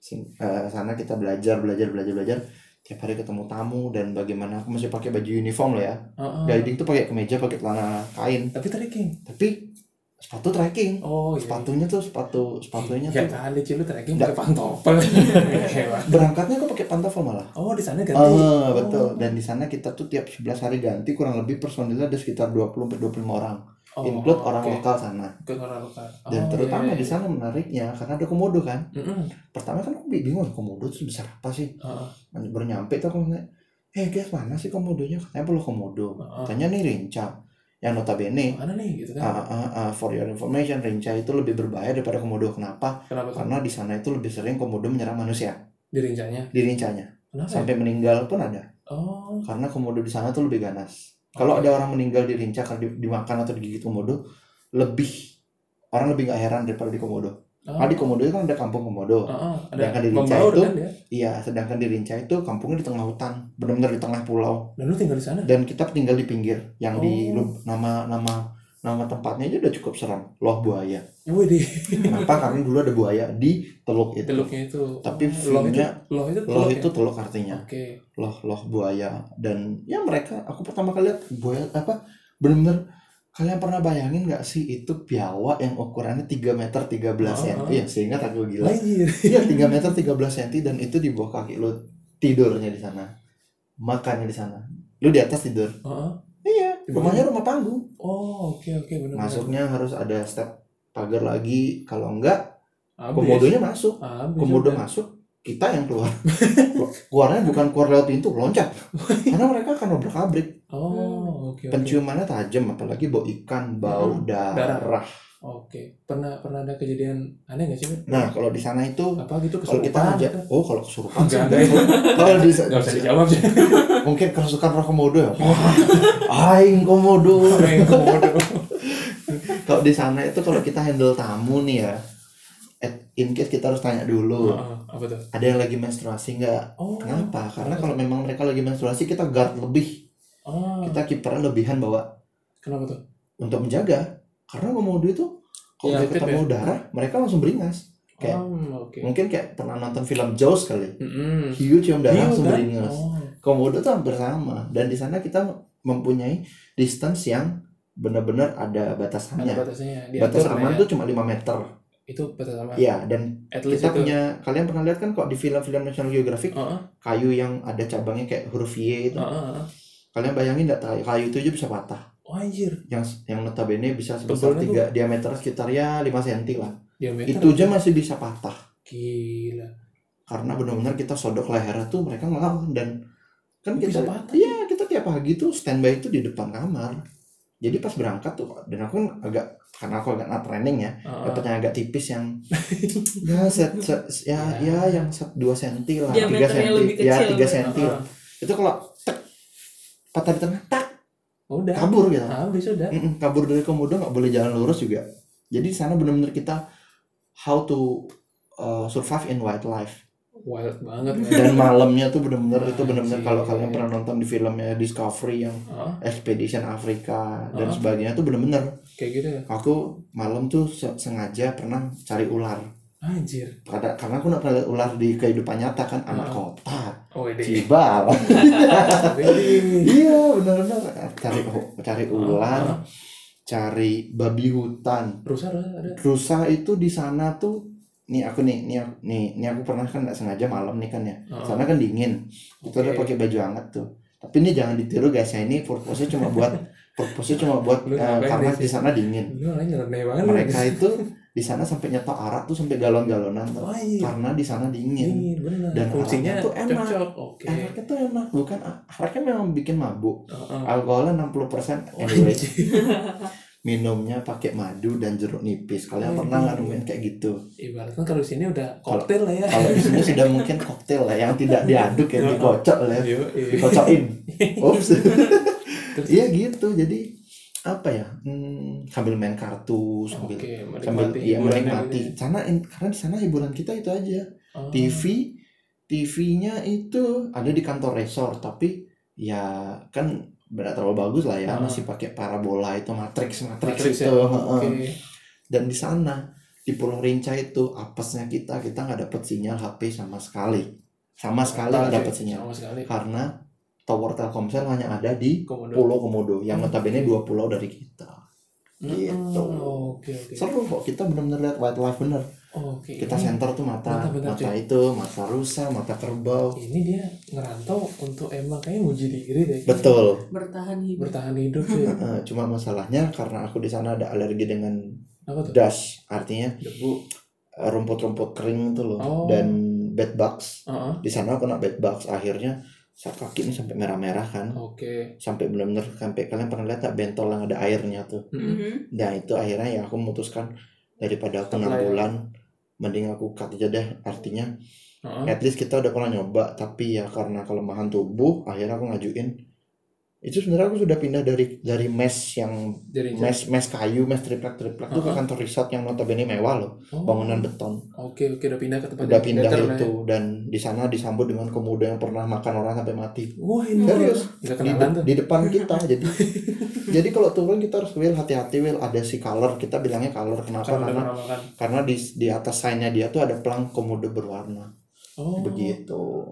Speaker 3: sing- eh, sana kita belajar belajar belajar belajar tiap hari ketemu tamu dan bagaimana aku masih pakai baju uniform loh ya
Speaker 1: Ah, ah.
Speaker 3: guiding tuh pakai kemeja pakai celana kain
Speaker 1: Tapi trekking.
Speaker 3: tapi sepatu trekking
Speaker 1: Oh, iya.
Speaker 3: sepatunya tuh sepatu sepatunya
Speaker 1: Ya
Speaker 3: tuh
Speaker 1: kan, di Cilu trekking
Speaker 3: Nggak.
Speaker 1: pakai pantopel. Kecewa.
Speaker 3: berangkatnya aku pakai pantofel malah
Speaker 1: oh, di sana ganti.
Speaker 3: Ah, betul dan di sana kita tuh tiap 11 hari ganti kurang lebih personilnya ada sekitar 20 sampai 25 orang
Speaker 1: Oh,
Speaker 3: include orang
Speaker 1: oke.
Speaker 3: lokal sana
Speaker 1: Include orang lokal.
Speaker 3: dan
Speaker 1: Oh,
Speaker 3: terutama
Speaker 1: iya, iya.
Speaker 3: di sana menariknya karena ada komodo kan
Speaker 1: Mm-mm.
Speaker 3: pertama kan aku bingung komodo tuh sebesar apa sih
Speaker 1: Ah,
Speaker 3: Nanti baru nyampe tuh aku nanya, eh guys mana sih komodonya? Katanya perlu komodo.
Speaker 1: ah, ah.
Speaker 3: Katanya nih Rinca. Yang notabene,
Speaker 1: Mana nih gitu
Speaker 3: ah,
Speaker 1: kan?
Speaker 3: ah, ah, for your information, Rinca itu lebih berbahaya daripada komodo. Kenapa?
Speaker 1: Kenapa tuh?
Speaker 3: Karena di sana itu lebih sering komodo menyerang manusia.
Speaker 1: Di rincanya.
Speaker 3: Di Rincanya.
Speaker 1: Kenapa? ya?
Speaker 3: Sampai meninggal pun ada.
Speaker 1: Oh,
Speaker 3: Karena komodo di sana tuh lebih ganas. Kalau
Speaker 1: Oke.
Speaker 3: ada orang meninggal di Rinca karena di- dimakan atau digigit komodo, lebih orang lebih gak heran daripada di komodo.
Speaker 1: oh.
Speaker 3: Karena di komodo itu kan ada kampung komodo.
Speaker 1: Ah, ah.
Speaker 3: Sedangkan
Speaker 1: Ada
Speaker 3: di Rinca
Speaker 1: membaur
Speaker 3: itu-
Speaker 1: kan dia?
Speaker 3: Iya, sedangkan di Rinca itu kampungnya di tengah hutan, benar-benar di tengah pulau.
Speaker 1: Dan lu tinggal di sana?
Speaker 3: dan kita tinggal di pinggir yang di
Speaker 1: Oh.
Speaker 3: lu- nama nama nama tempatnya aja udah cukup seram loh buaya
Speaker 1: Wih, di
Speaker 3: kenapa karena dulu ada buaya di teluk itu
Speaker 1: teluknya itu.
Speaker 3: Gitu. Tapi
Speaker 1: loh itu,
Speaker 3: view-nya-
Speaker 1: loh itu
Speaker 3: loh
Speaker 1: teluk
Speaker 3: itu
Speaker 1: ya?
Speaker 3: teluk artinya
Speaker 1: Oke.
Speaker 3: loh loh buaya dan ya mereka aku pertama kali lihat buaya apa bener-bener kalian pernah bayangin nggak sih itu biawak yang ukurannya 3 meter 13
Speaker 1: Ah.
Speaker 3: cm ya sehingga aku gila
Speaker 1: Anjir.
Speaker 3: iya 3 meter 13 cm dan itu di bawah kaki lu tidurnya di sana makannya di sana lu di atas tidur
Speaker 1: Ah, ah.
Speaker 3: iya
Speaker 1: Di bawah.
Speaker 3: rumahnya rumah panggung
Speaker 1: Oh, oke oke benar.
Speaker 3: masuknya harus ada step pagar lagi kalau enggak
Speaker 1: Habis.
Speaker 3: komodonya masuk
Speaker 1: Habis
Speaker 3: komodo
Speaker 1: udah.
Speaker 3: masuk kita yang keluar keluarnya bukan keluar lewat pintu loncat karena mereka akan obrak abrik
Speaker 1: Oh, oke oke.
Speaker 3: penciumannya tajam apalagi bau ikan bau
Speaker 1: Hmm,
Speaker 3: darah.
Speaker 1: darah. Oke, pernah pernah ada kejadian aneh nggak sih? Bud?
Speaker 3: nah kalau di sana itu
Speaker 1: Apa gitu
Speaker 3: kalau kita
Speaker 1: kesurupan
Speaker 3: ngajak
Speaker 1: gitu?
Speaker 3: oh kalau kesurupan sih
Speaker 1: Enggak ada ya.
Speaker 3: kalau di
Speaker 1: Nggak usah dijawab Oh. sih.
Speaker 3: mungkin kerasukan roh komodo ya Wah, aing komodo
Speaker 1: Main komodo.
Speaker 3: kalau di sana itu kalau kita handle tamu nih ya at- in case kita harus tanya dulu
Speaker 1: Heeh, Apa tuh?
Speaker 3: ada yang lagi menstruasi nggak
Speaker 1: Oh,
Speaker 3: Kenapa? Karena kalau memang mereka lagi menstruasi kita guard lebih,
Speaker 1: Oh,
Speaker 3: kita kiperan lebihan bawa
Speaker 1: kenapa tuh?
Speaker 3: untuk menjaga. Karena komodo itu kalau
Speaker 1: Iya,
Speaker 3: dia
Speaker 1: aktif
Speaker 3: ketemu
Speaker 1: ya.
Speaker 3: darah mereka langsung beringas. Kayak-
Speaker 1: Oh, oke.
Speaker 3: Mungkin kayak pernah nonton film Jaws kali.
Speaker 1: Mm-mm.
Speaker 3: Hiu cium darah
Speaker 1: Iya,
Speaker 3: langsung
Speaker 1: kan?
Speaker 3: beringas.
Speaker 1: Oh,
Speaker 3: Komodo tuh hampir sama dan di sana kita mempunyai distance yang benar-benar ada
Speaker 1: ada
Speaker 3: batasannya.
Speaker 1: batasnya. Diatur
Speaker 3: Batas
Speaker 1: lah
Speaker 3: aman
Speaker 1: ya.
Speaker 3: tuh cuma 5 meter.
Speaker 1: itu batas aman.
Speaker 3: Iya, dan
Speaker 1: At least itu.
Speaker 3: kita
Speaker 1: Ah.
Speaker 3: punya kalian pernah lihat kan kok di film-film National Geographic
Speaker 1: Heeh,
Speaker 3: kayu yang ada cabangnya kayak huruf Y itu.
Speaker 1: heeh, heeh.
Speaker 3: Kalian bayangin nggak kayu- kayu itu aja bisa patah.
Speaker 1: Oh, anjir.
Speaker 3: yang yang notabene bisa sebesar
Speaker 1: Tebalnya
Speaker 3: tiga diameter sekitar ya 5 cm lah.
Speaker 1: Diameter.
Speaker 3: Itu aja masih bisa patah
Speaker 1: Gila.
Speaker 3: karena benar-benar kita sodok lehernya tuh mereka ngelawan dan kan
Speaker 1: Bisa
Speaker 3: kita
Speaker 1: patah.
Speaker 3: Iya, kita tiap pagi tuh standby itu di depan kamar. jadi pas berangkat tuh dan aku kan agak karena aku agak not training ya
Speaker 1: Heeh.
Speaker 3: dapatnya agak tipis yang ya set, set- ya ya yang set dua senti lah tiga
Speaker 2: Diameternya
Speaker 3: senti
Speaker 2: lebih
Speaker 3: ya
Speaker 2: kecil,
Speaker 3: tiga
Speaker 2: bener.
Speaker 3: senti
Speaker 1: Ah.
Speaker 3: lah. itu kalau tek, patah di tengah tak
Speaker 1: udah
Speaker 3: kabur gitu
Speaker 1: habis udah
Speaker 3: Mm-mm, kabur dari komodo nggak boleh jalan lurus juga jadi di sana benar-benar kita how to uh, survive in wildlife
Speaker 1: wild banget
Speaker 3: dan malamnya tuh bener-bener itu bener-bener
Speaker 1: Anjir.
Speaker 3: kalau kalian pernah nonton di filmnya Discovery yang
Speaker 1: Heeh,
Speaker 3: Expedition Afrika dan
Speaker 1: Ah.
Speaker 3: sebagainya tuh bener-bener
Speaker 1: kayak gitu ya
Speaker 3: aku malam tuh se- sengaja pernah cari ular
Speaker 1: anjir
Speaker 3: karena, karena aku nggak pernah lihat ular di kehidupan nyata kan anak
Speaker 1: Ah.
Speaker 3: kota
Speaker 1: oh ide
Speaker 3: cibal
Speaker 1: Wih.
Speaker 3: iya bener-bener cari cari ular cari babi hutan
Speaker 1: rusa rusa ada
Speaker 3: rusa itu di sana tuh nih aku nih nih aku- nih nih aku pernah kan nggak sengaja malam nih kan ya
Speaker 1: Heeh.
Speaker 3: sana kan dingin itu ada
Speaker 1: Oke.
Speaker 3: pakai baju hangat tuh tapi ini jangan ditiru guys ya ini purpose cuma buat purpose cuma buat
Speaker 1: Lu
Speaker 3: eh,
Speaker 1: ngapain
Speaker 3: karena
Speaker 1: di
Speaker 3: di sana dingin
Speaker 1: lu lain nyeleneh banget lu.
Speaker 3: mereka itu di sana sampai nyetok arak tuh sampai galon-galonan tuh.
Speaker 1: Wah, iya.
Speaker 3: karena di sana dingin
Speaker 1: Dingin, bener.
Speaker 3: Dan
Speaker 1: fungsinya
Speaker 3: alatnya tuh enak.
Speaker 1: cocok. Oke.
Speaker 3: Araknya tuh enak bukan araknya memang bikin mabuk
Speaker 1: Heeh. iya.
Speaker 3: alkoholnya 60%
Speaker 1: Oh,
Speaker 3: anyway minumnya pakai madu dan jeruk nipis kalian
Speaker 1: Oh,
Speaker 3: pernah nggak
Speaker 1: iya.
Speaker 3: nemuin kayak gitu
Speaker 1: Ibaratnya kalau di sini udah koktail lah ya.
Speaker 3: kalau di sini sudah mungkin koktail lah yang tidak diaduk ya dikocok lah ya
Speaker 1: Yo, Oh. iya.
Speaker 3: dikocokin Ups. iya gitu jadi apa ya hmm, sambil main kartu sambil
Speaker 1: Oke,
Speaker 3: sambil
Speaker 1: menikmati.
Speaker 3: iya
Speaker 1: hiburannya
Speaker 3: menikmati
Speaker 1: gitu
Speaker 3: karena in- karena di sana hiburan kita itu aja
Speaker 1: ya. Oh.
Speaker 3: TV TV-nya itu ada di kantor resort tapi ya kan tidak terlalu bagus lah
Speaker 1: Ah.
Speaker 3: ya masih pakai parabola itu matrix matrix,
Speaker 1: Matrix
Speaker 3: itu
Speaker 1: ya.
Speaker 3: heeh.
Speaker 1: Oke.
Speaker 3: dan di sana di Pulau Rinca itu apesnya kita kita nggak dapat sinyal HP sama sekali sama sekali
Speaker 1: Total
Speaker 3: nggak
Speaker 1: sih,
Speaker 3: dapat sinyal
Speaker 1: Sama sekali.
Speaker 3: karena tower Telkomsel hanya ada di
Speaker 1: Komodo. Hmm.
Speaker 3: Pulau Komodo yang notabene dua pulau dari kita
Speaker 1: Mm,
Speaker 3: gitu.
Speaker 1: Oke, oke.
Speaker 3: seru kok kita benar-benar lihat wildlife bener
Speaker 1: Oh, Oke.
Speaker 3: kita
Speaker 1: ini-
Speaker 3: center tuh mata
Speaker 1: Mata bener,
Speaker 3: mata
Speaker 1: cuy.
Speaker 3: itu mata rusa mata kerbau
Speaker 1: Ini dia ngerantau untuk emang kayak nguji diri deh.
Speaker 3: betul
Speaker 2: bertahan hidup
Speaker 1: Bertahan hidup ya.
Speaker 3: Eh, cuma masalahnya karena aku di sana ada alergi dengan
Speaker 1: Apa tuh?
Speaker 3: dust artinya
Speaker 1: Debu.
Speaker 3: eh, rumput-rumput kering itu loh
Speaker 1: Oh.
Speaker 3: dan bed bugs
Speaker 1: Heeh.
Speaker 3: di sana aku kena bed bugs akhirnya saya kaki ini sampai merah-merah kan
Speaker 1: Oke.
Speaker 3: sampai benar-benar sampai kalian pernah lihat tak bentol yang ada airnya tuh
Speaker 1: Mm-mm.
Speaker 2: Mm-hmm.
Speaker 3: nah itu akhirnya yang aku memutuskan daripada aku
Speaker 4: Stop
Speaker 3: enam
Speaker 4: lah ya.
Speaker 3: bulan mending aku cut aja deh artinya
Speaker 1: Heeh.
Speaker 3: at least kita udah pernah nyoba tapi ya karena kelemahan tubuh akhirnya aku ngajuin itu sebenarnya aku sudah pindah dari dari mesh yang
Speaker 1: Jadi
Speaker 3: mes mes kayu mes triplek triplek tuh ke
Speaker 1: Uh-huh.
Speaker 3: kantor resort yang notabene mewah loh
Speaker 1: Oh.
Speaker 3: bangunan beton
Speaker 1: Oke, oke udah pindah ke tempat
Speaker 3: udah
Speaker 1: yang
Speaker 3: pindah
Speaker 1: better lah ya.
Speaker 3: itu dan di sana disambut dengan komodo yang pernah makan orang sampai mati
Speaker 1: Wah, ini
Speaker 3: serius
Speaker 1: Enggak
Speaker 3: di,
Speaker 1: Hmm. kenalan tuh.
Speaker 3: di depan kita jadi jadi kalau turun kita harus will hati-hati will ada si color kita bilangnya color kenapa
Speaker 1: Kalau udah
Speaker 3: karena
Speaker 1: pernah makan.
Speaker 3: karena di di atas signnya dia tuh ada pelang komodo berwarna
Speaker 1: Oh.
Speaker 3: begitu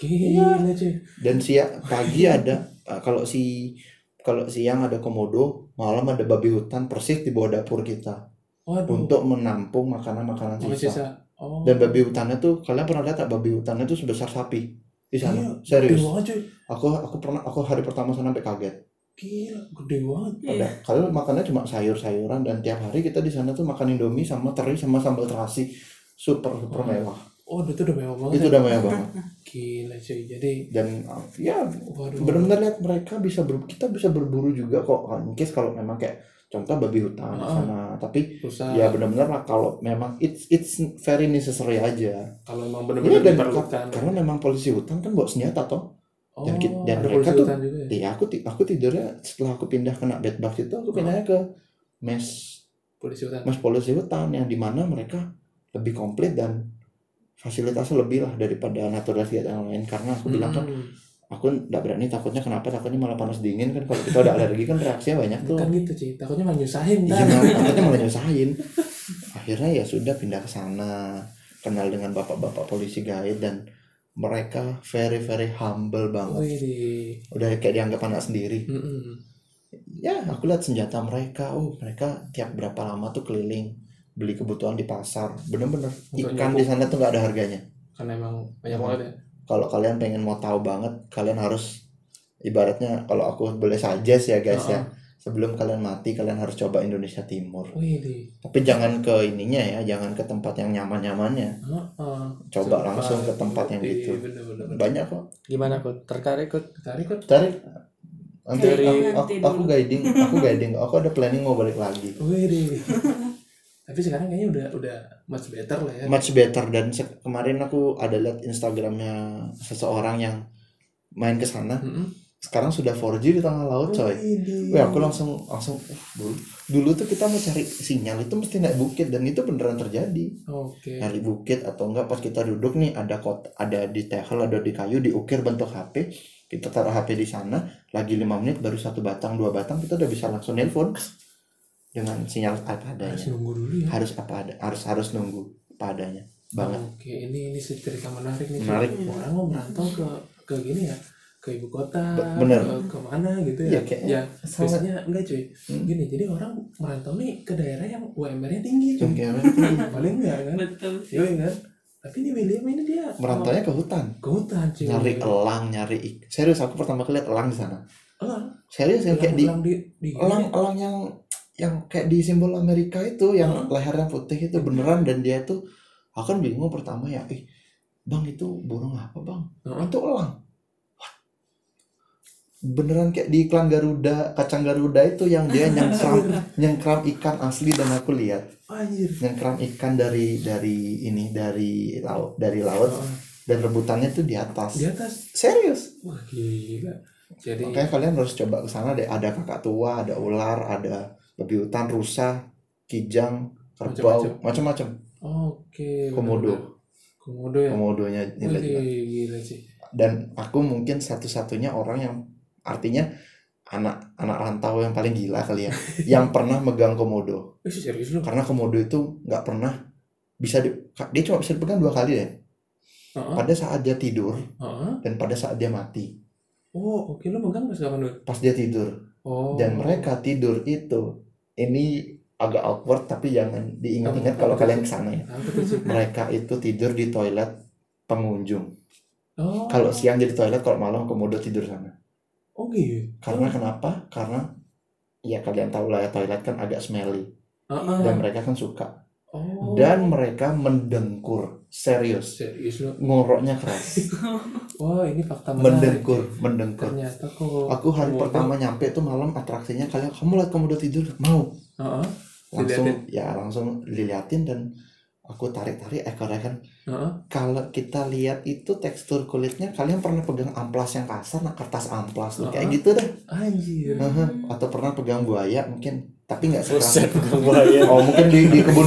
Speaker 3: Iya.
Speaker 1: Gila, iya, cuy.
Speaker 3: dan siang pagi ada eh, kalau si kalau siang ada komodo malam ada babi hutan persis di bawah dapur kita
Speaker 1: Waduh.
Speaker 3: untuk menampung makanan-makanan
Speaker 1: Sama
Speaker 3: sisa.
Speaker 1: sisa. Oh.
Speaker 3: Dan babi hutannya tuh kalian pernah lihat tak babi hutannya tuh sebesar sapi di sana.
Speaker 1: Iya,
Speaker 3: Serius.
Speaker 1: Gede banget cuy.
Speaker 3: Aku aku pernah aku hari pertama sana sampai kaget.
Speaker 1: Gila, gede banget.
Speaker 3: Ada kalian makannya cuma sayur-sayuran dan tiap hari kita di sana tuh makan indomie sama teri sama sambal terasi super super
Speaker 1: Oh,
Speaker 3: mewah.
Speaker 1: Oh, itu udah mewah banget.
Speaker 3: Itu
Speaker 1: ya.
Speaker 3: udah mewah banget.
Speaker 1: Gila cuy. Jadi,
Speaker 3: Dan uh, ya
Speaker 1: waduh.
Speaker 3: benar-benar lihat mereka bisa ber, kita bisa berburu juga kok. kan. In case kalau memang kayak contoh babi hutan di
Speaker 1: Ah.
Speaker 3: sana. Tapi
Speaker 1: Susah.
Speaker 3: ya benar-benar lah kalau memang it's it's very necessary aja.
Speaker 1: Kalau emang benar-benar
Speaker 3: Iya dan
Speaker 1: diperlukan.
Speaker 3: karena memang polisi hutan kan bawa senjata toh.
Speaker 1: Oh,
Speaker 3: dan ki- dan
Speaker 1: ada polisi
Speaker 3: mereka tuh-
Speaker 1: hutan juga ya.
Speaker 3: Iya aku ti- aku tidurnya setelah aku pindah kena bed bug itu aku pindahnya ke mes
Speaker 1: Polisi hutan.
Speaker 3: mes polisi hutan yang dimana mereka lebih komplit dan fasilitasnya lebih lah daripada naturalisasi yang lain karena aku bilang kan
Speaker 1: Hmm.
Speaker 3: aku nggak berani takutnya kenapa takutnya malah panas dingin kan kalau kita udah alergi kan reaksinya banyak tuh
Speaker 1: Kan gitu cuy. Takutnya malah nyusahin
Speaker 3: Iya,
Speaker 1: kan.
Speaker 3: malah- takutnya malah nyusahin akhirnya ya sudah pindah ke sana kenal dengan bapak-bapak polisi gaib dan mereka very very humble banget
Speaker 1: Wih, di-
Speaker 3: udah kayak dianggap anak sendiri
Speaker 1: Mm-mm.
Speaker 3: ya aku lihat senjata mereka oh mereka tiap berapa lama tuh keliling beli kebutuhan di pasar bener-bener
Speaker 1: Untuk
Speaker 3: ikan
Speaker 1: nyambung.
Speaker 3: di sana tuh nggak ada harganya
Speaker 1: Karena emang banyak banget ya.
Speaker 3: kalau kalian pengen mau tahu banget kalian harus ibaratnya kalau aku boleh suggest ya guys ya sebelum kalian mati kalian harus coba Indonesia Timur
Speaker 1: Oh, Wih, di.
Speaker 3: tapi jangan ke ininya ya jangan ke tempat yang nyaman-nyamannya
Speaker 1: Heeh.
Speaker 3: coba langsung ke tempat yang
Speaker 1: Iya,
Speaker 3: gitu
Speaker 1: bener-bener.
Speaker 3: banyak kok
Speaker 4: Gimana kok? Tertarik kok?
Speaker 1: Tarik kan
Speaker 3: tarik nanti
Speaker 4: Dari-
Speaker 3: aku, aku,
Speaker 2: Nanti
Speaker 3: aku
Speaker 2: dulu.
Speaker 3: guiding aku guiding aku ada planning mau balik lagi
Speaker 1: Wede. Tapi sekarang kayaknya udah udah much better lah ya.
Speaker 3: much better dan se- kemarin aku ada lihat Instagramnya seseorang yang main ke sana
Speaker 1: Mm-mm.
Speaker 3: sekarang sudah 4G di tengah laut coy
Speaker 1: Wede.
Speaker 3: Wih, aku langsung langsung eh, dulu dulu tuh kita mau cari sinyal itu mesti naik bukit dan itu beneran terjadi
Speaker 1: Oke.
Speaker 3: naik di bukit atau enggak pas kita duduk nih ada kot ada di tehel ada di kayu diukir bentuk HP kita taruh HP di sana lagi lima menit baru satu batang dua batang kita udah bisa langsung nelpon dengan sinyal apa
Speaker 1: Harus
Speaker 3: adanya
Speaker 1: nunggu dulu ya.
Speaker 3: harus apa ada harus harus nunggu apa adanya banget
Speaker 1: Oke, ini ini cerita menarik nih.
Speaker 3: Menarik.
Speaker 1: Orang mau merantau ke ke gini ya, ke ibu kota,
Speaker 3: Be- bener.
Speaker 1: ke kemana gitu
Speaker 3: Iya,
Speaker 1: ya.
Speaker 3: kayaknya
Speaker 1: ya,
Speaker 3: sangat
Speaker 1: biasanya enggak cuy.
Speaker 3: Hmm.
Speaker 1: Gini, jadi orang merantau nih ke daerah yang UMR-nya tinggi cuy.
Speaker 3: Jungkirnya
Speaker 1: Paling enggak kan?
Speaker 2: betul sih
Speaker 1: Yoi kan? Tapi ini William ini dia
Speaker 3: hmm, merantaunya ke hutan
Speaker 1: ke hutan cuy.
Speaker 3: ya? nyari elang nyari ik- serius aku pertama kali lihat elang di sana
Speaker 1: Elang,
Speaker 3: serius yang kayak di
Speaker 1: elang di, di
Speaker 3: elang elang yang yang kayak di simbol Amerika itu yang
Speaker 1: Heeh.
Speaker 3: lehernya putih itu beneran dan dia tuh aku kan bingung pertama ya ih bang itu burung apa bang
Speaker 1: Heeh.
Speaker 3: itu elang What? beneran kayak di iklan Garuda kacang Garuda itu yang dia nyengkram nyengkram ikan asli dan aku lihat
Speaker 1: Anjir.
Speaker 3: nyengkram ikan dari dari ini dari laut dari laut
Speaker 1: Heeh. Iya.
Speaker 3: dan rebutannya tuh di atas
Speaker 1: Nah, Di atas.
Speaker 3: serius
Speaker 1: Wah, gila. Jadi
Speaker 3: Makanya kalian harus coba ke sana deh. Ada kakak tua, ada ular, ada babi hutan, rusa, kijang,
Speaker 1: Macam-macam. Iya,
Speaker 3: kerbau, macam-macam.
Speaker 1: Oke.
Speaker 3: Komodo,
Speaker 1: Komodo ya.
Speaker 3: komodonya
Speaker 1: Wih,
Speaker 3: nilai.
Speaker 1: gila sih.
Speaker 3: Dan aku mungkin satu-satunya orang yang artinya anak anak rantau yang paling gila kali ya, yang pernah megang komodo.
Speaker 1: Wih, serius lu.
Speaker 3: Karena komodo itu nggak pernah bisa di, dia cuma bisa dipegang dua kali deh.
Speaker 1: Heeh.
Speaker 3: Pada saat dia tidur
Speaker 1: Heeh.
Speaker 3: dan pada saat dia mati.
Speaker 1: Oh, oke lu megang pas kapan lu?
Speaker 3: Pas dia tidur,
Speaker 1: Oh.
Speaker 3: dan mereka tidur itu ini agak awkward tapi jangan diingat-ingat
Speaker 1: Apa-
Speaker 3: kalau
Speaker 1: apa
Speaker 3: kalian
Speaker 1: tuh?
Speaker 3: kesana ya
Speaker 1: Apa tuh, Cip?
Speaker 3: mereka itu tidur di toilet pengunjung
Speaker 1: Oh.
Speaker 3: kalau siang jadi toilet kalau malam komodo tidur sana
Speaker 1: Oh gitu.
Speaker 3: karena kenapa karena ya kalian tahu lah ya toilet kan agak smelly
Speaker 1: Heeh.
Speaker 3: dan mereka kan suka
Speaker 1: Oh.
Speaker 3: dan mereka mendengkur serius
Speaker 1: serius lu.
Speaker 3: ngoroknya keras
Speaker 1: Wah, ini fakta menarik.
Speaker 3: mendengkur mendengkur
Speaker 1: Ternyata kok.
Speaker 3: aku hari
Speaker 1: Komodo.
Speaker 3: pertama nyampe tuh malam atraksinya kalian kamu lihat komodo tidur mau
Speaker 1: Heeh.
Speaker 3: langsung ya langsung diliatin dan aku tarik-tarik ekornya kan
Speaker 1: Heeh.
Speaker 3: kalau kita lihat itu tekstur kulitnya kalian pernah pegang amplas yang kasar nah kertas amplas tuh kayak
Speaker 1: Heeh.
Speaker 3: gitu dah
Speaker 4: Iya.
Speaker 1: Anjir.
Speaker 3: Heeh. atau pernah pegang buaya mungkin tapi nggak
Speaker 4: Buset,
Speaker 3: sekarang
Speaker 4: pegang buaya.
Speaker 3: oh mungkin di, di kebun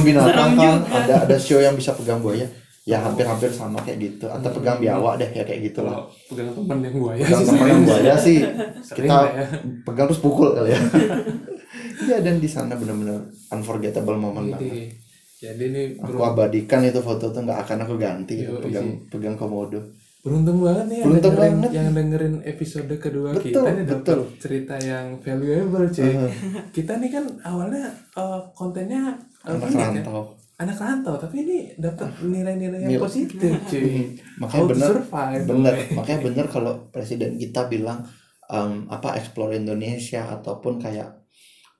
Speaker 2: Serem
Speaker 3: binatang kan
Speaker 2: juga.
Speaker 3: ada ada show yang bisa pegang buaya ya hampir-hampir sama kayak gitu atau
Speaker 1: Hmm.
Speaker 3: pegang biawak deh ya kayak gitu lah
Speaker 1: Kalau
Speaker 4: Oh.
Speaker 1: pegang teman yang buaya
Speaker 3: pegang
Speaker 1: sih
Speaker 3: temen yang
Speaker 1: sering.
Speaker 3: buaya sih
Speaker 1: Sering
Speaker 3: kita-
Speaker 1: lah ya.
Speaker 3: pegang terus pukul kali ya ya dan di sana bener-bener unforgettable moment
Speaker 4: Iya,
Speaker 3: banget
Speaker 1: Jadi, jadi ini
Speaker 3: aku
Speaker 1: beruntung,
Speaker 3: abadikan itu foto tuh nggak akan aku ganti gitu,
Speaker 1: Yo,
Speaker 3: pegang
Speaker 1: isi.
Speaker 3: pegang komodo
Speaker 1: beruntung banget nih yang
Speaker 3: Beruntung
Speaker 1: dengerin-
Speaker 3: banget.
Speaker 1: yang dengerin episode kedua
Speaker 3: Betul,
Speaker 1: kita nih dapat
Speaker 3: betul. Uh-huh.
Speaker 1: cerita yang valuable cuy.
Speaker 3: Heeh.
Speaker 1: Kita nih kan awalnya eh, kontennya eh,
Speaker 3: anak
Speaker 1: ini kan,
Speaker 3: rantau
Speaker 1: anak rantau tapi ini dapat nilai-nilai yang
Speaker 3: Nilai.
Speaker 1: positif cuy.
Speaker 3: Hmm.
Speaker 1: How to
Speaker 3: makanya Iya. bener
Speaker 1: survive.
Speaker 3: bener makanya bener kalau presiden kita bilang em, apa explore Indonesia ataupun kayak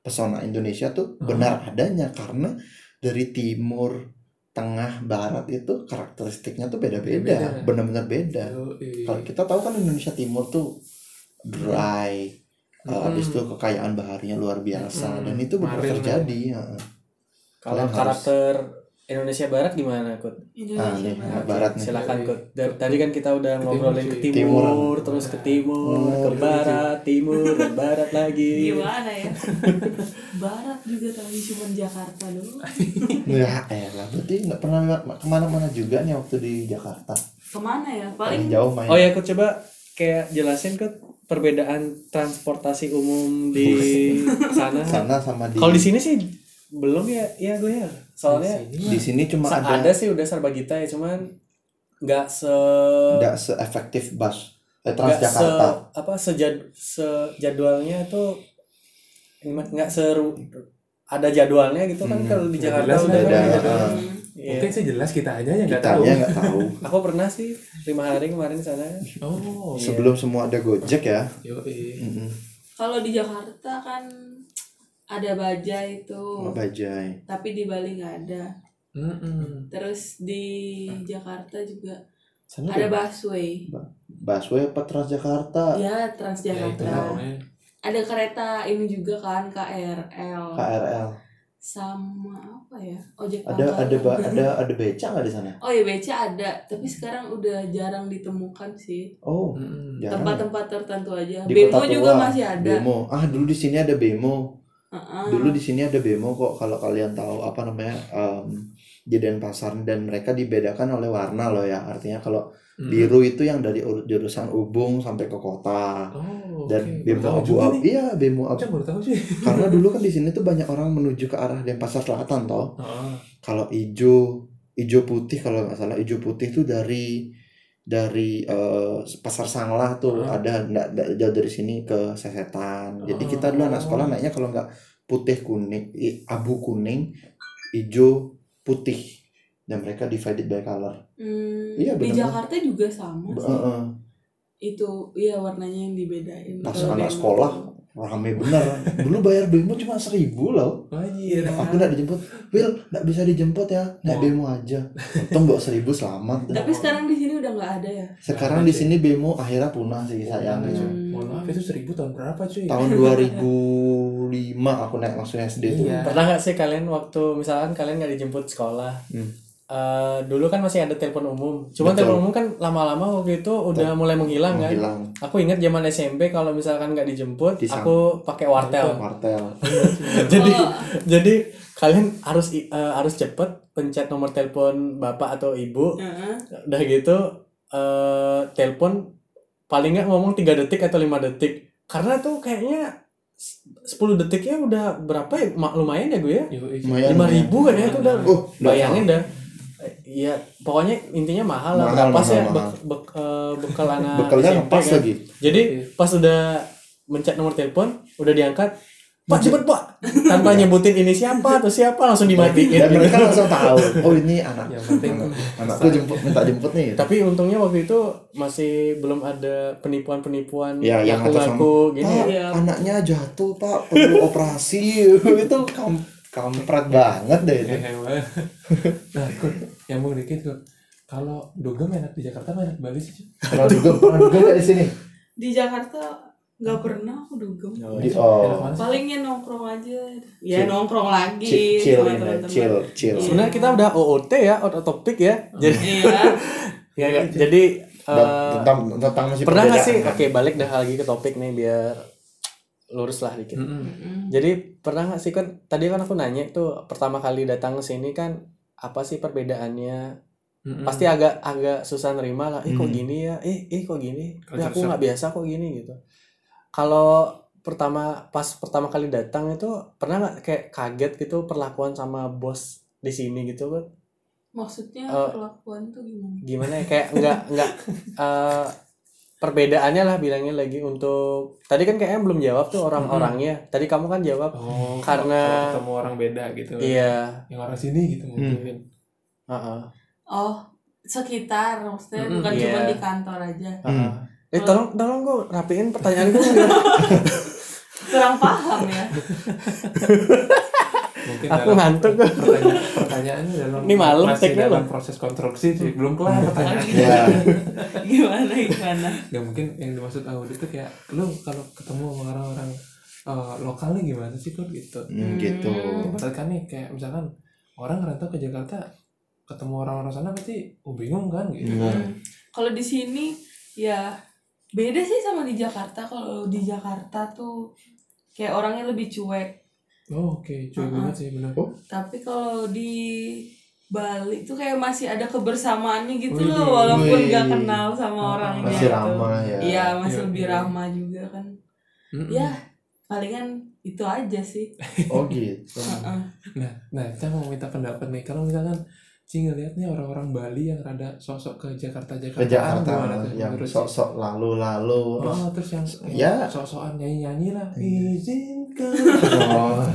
Speaker 3: pesona Indonesia tuh
Speaker 1: Hmm.
Speaker 3: benar adanya karena dari timur tengah barat itu karakteristiknya tuh
Speaker 1: Beda-beda.
Speaker 3: beda-beda bener-bener beda
Speaker 1: Yoi.
Speaker 3: kalau kita tahu kan Indonesia timur tuh dry eh,
Speaker 4: Hmm.
Speaker 3: habis itu kekayaan baharinya luar biasa
Speaker 1: Hmm.
Speaker 3: dan itu benar
Speaker 4: ya.
Speaker 1: Marin,
Speaker 3: terjadi heeh.
Speaker 4: Kalau
Speaker 3: Kalian harus-
Speaker 4: karakter Indonesia Barat gimana, Kut?
Speaker 3: Nah,
Speaker 2: Indonesia
Speaker 3: nih,
Speaker 2: Barat.
Speaker 4: Ah,
Speaker 3: anak barat nih.
Speaker 4: Silakan, Kut. Dari tadi kan kita udah
Speaker 1: Ke
Speaker 4: ngobrolin
Speaker 1: timur,
Speaker 4: ke
Speaker 1: cuy.
Speaker 4: timur,
Speaker 3: Timur. Oh, gitu,
Speaker 4: terus ke timur,
Speaker 3: Timur,
Speaker 4: ke barat, timur, ke barat lagi.
Speaker 1: Iya.
Speaker 2: gimana ya barat juga tapi cuma Jakarta doang
Speaker 4: Iya.
Speaker 3: Ya elah, berarti nggak pernah ma- kemana-mana juga nih waktu di Jakarta.
Speaker 2: kemana ya paling
Speaker 3: Paling jauh main.
Speaker 4: Oh ya, Kut coba kayak jelasin Kut perbedaan transportasi umum di sana.
Speaker 3: Sana sama di.
Speaker 4: Kalau di sini sih belum ya, ya gue ya. Soalnya
Speaker 1: Di sini
Speaker 3: Di sini cuma
Speaker 4: sa-
Speaker 3: ada
Speaker 4: ada sih udah serba kita ya, cuman nggak se
Speaker 3: nggak seefektif bus eh,
Speaker 4: nggak se
Speaker 3: Transjakarta.
Speaker 4: apa sejad sejadwalnya itu nggak seru gitu. ada jadwalnya gitu kan
Speaker 3: Hmm,
Speaker 4: kalau di
Speaker 1: nggak
Speaker 4: Jakarta
Speaker 1: jelas
Speaker 4: udah
Speaker 1: lah.
Speaker 4: ada
Speaker 3: Beda,
Speaker 4: jadwal.
Speaker 3: ah.
Speaker 2: Hmm.
Speaker 4: Iya.
Speaker 1: mungkin sih jelas kita aja yang nggak
Speaker 3: Kita
Speaker 1: tahu.
Speaker 3: aja nggak tahu.
Speaker 4: aku pernah sih lima hari kemarin di sana
Speaker 1: Oh,
Speaker 4: Iya.
Speaker 3: Sebelum semua ada Gojek ya.
Speaker 1: yoi.
Speaker 3: Mm-mm.
Speaker 2: kalau di Jakarta kan ada bajai itu
Speaker 3: Bajai.
Speaker 2: tapi di Bali nggak ada
Speaker 1: Mm-mm.
Speaker 2: terus di Jakarta juga
Speaker 1: Sana
Speaker 2: ada
Speaker 1: ada
Speaker 2: busway
Speaker 3: Busway apa Transjakarta?
Speaker 2: ya
Speaker 4: Iya.
Speaker 1: ya, itu
Speaker 2: Transjakarta
Speaker 1: namanya.
Speaker 2: ada kereta ini juga kan KRL
Speaker 3: KRL
Speaker 2: sama apa ya ojek
Speaker 3: ada
Speaker 2: pangkalan.
Speaker 3: ada ba- ada ada beca nggak di sana
Speaker 2: oh ya beca ada tapi sekarang udah jarang ditemukan sih
Speaker 3: oh
Speaker 1: Mm-mm.
Speaker 3: jarang ya.
Speaker 2: tempat-tempat tertentu aja
Speaker 3: Di
Speaker 2: bemo
Speaker 3: Kota
Speaker 2: juga
Speaker 3: Tua,
Speaker 2: masih ada
Speaker 3: bemo ah dulu di sini ada bemo
Speaker 2: Heeh.
Speaker 3: dulu di sini ada bemo kok kalau kalian tahu apa namanya em, di Denpasar dan mereka dibedakan oleh warna loh ya artinya kalau
Speaker 1: Mm.
Speaker 3: biru itu yang dari ur- jurusan Ubung sampai ke kota
Speaker 1: Oh,
Speaker 3: dan
Speaker 1: oke. Baru
Speaker 3: bemo
Speaker 1: tahu
Speaker 3: abu
Speaker 1: juga
Speaker 3: abu
Speaker 1: nih.
Speaker 3: iya bemo abu
Speaker 1: Cak, baru tahu sih.
Speaker 3: karena dulu kan di sini tuh banyak orang menuju ke arah Denpasar Selatan toh
Speaker 1: Heeh.
Speaker 3: kalau ijo ijo putih kalau nggak salah ijo putih tuh dari dari eh, pasar Sanglah tuh
Speaker 1: Ah.
Speaker 3: ada nggak nggak jauh dari sini ke Sesetan jadi kita dulu
Speaker 1: Oh.
Speaker 3: anak sekolah naiknya kalau nggak putih kuning i- abu kuning ijo putih dan mereka divided by color
Speaker 2: Hmm,
Speaker 3: Iya,
Speaker 2: di
Speaker 3: bener-bener.
Speaker 2: Jakarta juga sama
Speaker 3: B-
Speaker 2: sih.
Speaker 3: eh, eh,
Speaker 2: itu iya warnanya yang dibedain
Speaker 3: Pas
Speaker 2: Kalau
Speaker 3: anak
Speaker 2: bemo.
Speaker 3: sekolah. rame bener dulu bayar bemo cuma seribu loh
Speaker 1: Anjir.
Speaker 3: aku nggak dijemput Will nggak bisa dijemput ya naik
Speaker 1: Oh.
Speaker 3: bemo aja untung bawa seribu selamat
Speaker 2: tapi sekarang di sini udah nggak ada ya
Speaker 3: Sekarang di sini bemo akhirnya punah sih sayang.
Speaker 1: Iya, Cuy.
Speaker 2: Hmm.
Speaker 1: Mohon maaf itu seribu tahun berapa
Speaker 4: Iya.
Speaker 1: cuy?
Speaker 3: Tahun 2005 aku naik langsung SD tuh.
Speaker 1: Iya.
Speaker 4: Pernah nggak sih kalian waktu misalkan kalian nggak dijemput sekolah?
Speaker 3: Hmm.
Speaker 4: Eh, dulu kan masih ada telepon umum. Cuman
Speaker 3: Betul.
Speaker 4: telepon umum kan lama-lama waktu itu udah mulai menghilang kan.
Speaker 3: Hilang
Speaker 4: Aku ingat zaman SMP kalau misalkan nggak dijemput,
Speaker 3: Disam.
Speaker 4: aku pakai wartel.
Speaker 3: martel.
Speaker 4: jadi
Speaker 2: Kalau-
Speaker 4: jadi kalian harus i- eh, harus cepet pencet nomor telepon bapak atau ibu.
Speaker 2: Heeh.
Speaker 4: Udah gitu eh telepon paling nggak ngomong 3 detik atau 5 detik. Karena tuh kayaknya s- 10 detiknya udah berapa ya? Ma- Lumayan ya gue ya.
Speaker 1: Yoi.
Speaker 3: Lumayan,
Speaker 4: lima ribu kan ya itu udah
Speaker 3: Oh, udah
Speaker 4: bayangin dah iya pokoknya intinya mahal lah
Speaker 3: Mahal,
Speaker 4: berapa
Speaker 3: mahal,
Speaker 4: sih
Speaker 3: mahal.
Speaker 4: bek, bek- eh, bekal anak
Speaker 3: Bekalnya
Speaker 4: SMP
Speaker 3: ngepas
Speaker 4: kan.
Speaker 3: lagi.
Speaker 4: jadi pas udah mencet nomor telepon udah diangkat pak cepet pak tanpa nyebutin ini siapa atau siapa langsung dimatiin
Speaker 3: Dan
Speaker 4: gitu.
Speaker 3: mereka langsung tahu. Oh ini anak.
Speaker 1: Yang penting
Speaker 3: anak- Anakku jemput minta jemput nih.
Speaker 4: Iya, tapi untungnya waktu itu masih belum ada penipuan-penipuan
Speaker 3: Ya, yang atas sama-
Speaker 4: ngaku-ngaku gini
Speaker 3: Pak,
Speaker 2: Iya.
Speaker 3: anaknya jatuh, Pak. Perlu operasi. itu kam kampret banget deh itu.
Speaker 1: Hehehe, wah. Nah, Kun, nyambung dikit Kun. Kalau dugem enak di Jakarta apa enak di Bali sih? Cuy?
Speaker 3: Pernah dugem, pernah dugem nggak di sini.
Speaker 2: di Jakarta nggak pernah aku dugem
Speaker 3: Di
Speaker 4: iya.
Speaker 1: Enak
Speaker 3: oh.
Speaker 1: banget sih.
Speaker 2: palingnya nongkrong aja ya
Speaker 3: Chill.
Speaker 2: nongkrong lagi
Speaker 3: Chill,
Speaker 2: sama
Speaker 3: chill,
Speaker 4: Iya,
Speaker 3: ini,
Speaker 2: teman-teman
Speaker 3: chill, chill.
Speaker 4: sebenarnya kita udah OOT ya out of topic ya jadi
Speaker 2: iya
Speaker 4: ya,
Speaker 3: Iya.
Speaker 4: ya, jadi eh,
Speaker 3: tentang tentang masih
Speaker 4: pernah nggak sih
Speaker 3: perbedaan, kan?
Speaker 4: oke balik dah lagi ke topik nih biar lurus lah dikit
Speaker 1: Mm-mm.
Speaker 2: Mm-mm.
Speaker 4: jadi pernah nggak sih kan tadi kan aku nanya tuh pertama kali datang ke sini kan apa sih perbedaannya
Speaker 1: Mm-mm.
Speaker 4: pasti agak agak susah nerima lah eh kok
Speaker 3: Hmm.
Speaker 4: gini ya eh eh kok gini Eh,
Speaker 1: Culture
Speaker 4: aku
Speaker 1: shock.
Speaker 4: nggak biasa kok gini gitu kalau pertama pas pertama kali datang itu pernah nggak kayak kaget gitu perlakuan sama bos di sini gitu kan
Speaker 2: maksudnya
Speaker 4: Eh.
Speaker 2: perlakuan tuh gimana
Speaker 4: gimana ya kayak nggak nggak eh, perbedaannya lah bilangnya lagi untuk tadi kan kayaknya belum jawab tuh orang-orangnya tadi kamu kan jawab
Speaker 1: Oh, kalau
Speaker 4: Karena-
Speaker 1: ketemu orang beda gitu.
Speaker 4: iya
Speaker 1: Yang orang sini gitu
Speaker 3: Hmm.
Speaker 1: mungkin.
Speaker 4: heeh.
Speaker 2: oh sekitar maksudnya
Speaker 1: Mm-mm.
Speaker 2: bukan cuma
Speaker 4: Iya.
Speaker 2: di kantor aja
Speaker 3: Hmm.
Speaker 4: eh tolong tolong gue rapiin pertanyaan gue
Speaker 2: kurang paham ya
Speaker 1: Mungkin
Speaker 4: aku
Speaker 1: dalam
Speaker 4: ngantuk gue
Speaker 1: pertanyaan, pertanyaannya dalam
Speaker 4: Ini malam,
Speaker 1: masih
Speaker 4: tag-nya
Speaker 1: dalam
Speaker 4: loh.
Speaker 1: proses konstruksi cuy. belum kelar pertanyaan.
Speaker 3: Ya.
Speaker 2: gimana gimana
Speaker 1: Gak mungkin yang dimaksud audit itu kayak lu kalau ketemu sama orang-orang eh, lokalnya gimana sih Kun gitu.
Speaker 3: Hmm, gitu.
Speaker 2: Hmm.
Speaker 1: Misalkan nih kayak misalkan orang ngerantau ke Jakarta ketemu orang-orang sana pasti oh, bingung kan gitu.
Speaker 3: Bener.
Speaker 2: Hmm. Kalau di sini ya beda sih sama di Jakarta. Kalau di Jakarta tuh kayak orangnya lebih cuek.
Speaker 1: Oh, Oke, cuy
Speaker 2: Uh-uh.
Speaker 1: banget sih bener.
Speaker 2: Tapi kalau di Bali tuh kayak masih ada kebersamaannya gitu
Speaker 1: Wih,
Speaker 2: loh walaupun nggak
Speaker 3: wih.
Speaker 2: kenal sama orangnya.
Speaker 3: Masih
Speaker 2: gitu.
Speaker 3: ramah ya.
Speaker 2: Iya, masih
Speaker 1: Iya,
Speaker 2: lebih
Speaker 1: iya.
Speaker 2: ramah juga kan.
Speaker 1: Mm-mm.
Speaker 2: Ya, palingan itu aja sih.
Speaker 3: Oh gitu.
Speaker 4: Iya.
Speaker 2: Heeh.
Speaker 1: Nah, nah kita mau minta pendapat nih. Kalau misalkan Ci ngeliat nih orang-orang Bali yang rada sosok ke Jakarta Jakarta,
Speaker 3: Ke Jakarta yang
Speaker 1: yang terus
Speaker 3: sok-sok lalu-lalu.
Speaker 1: Oh, terus yang
Speaker 3: Ya.
Speaker 1: yang sok-sokan nyanyi-nyanyi lah.
Speaker 3: Iya.
Speaker 1: Izinkan.
Speaker 3: Oh.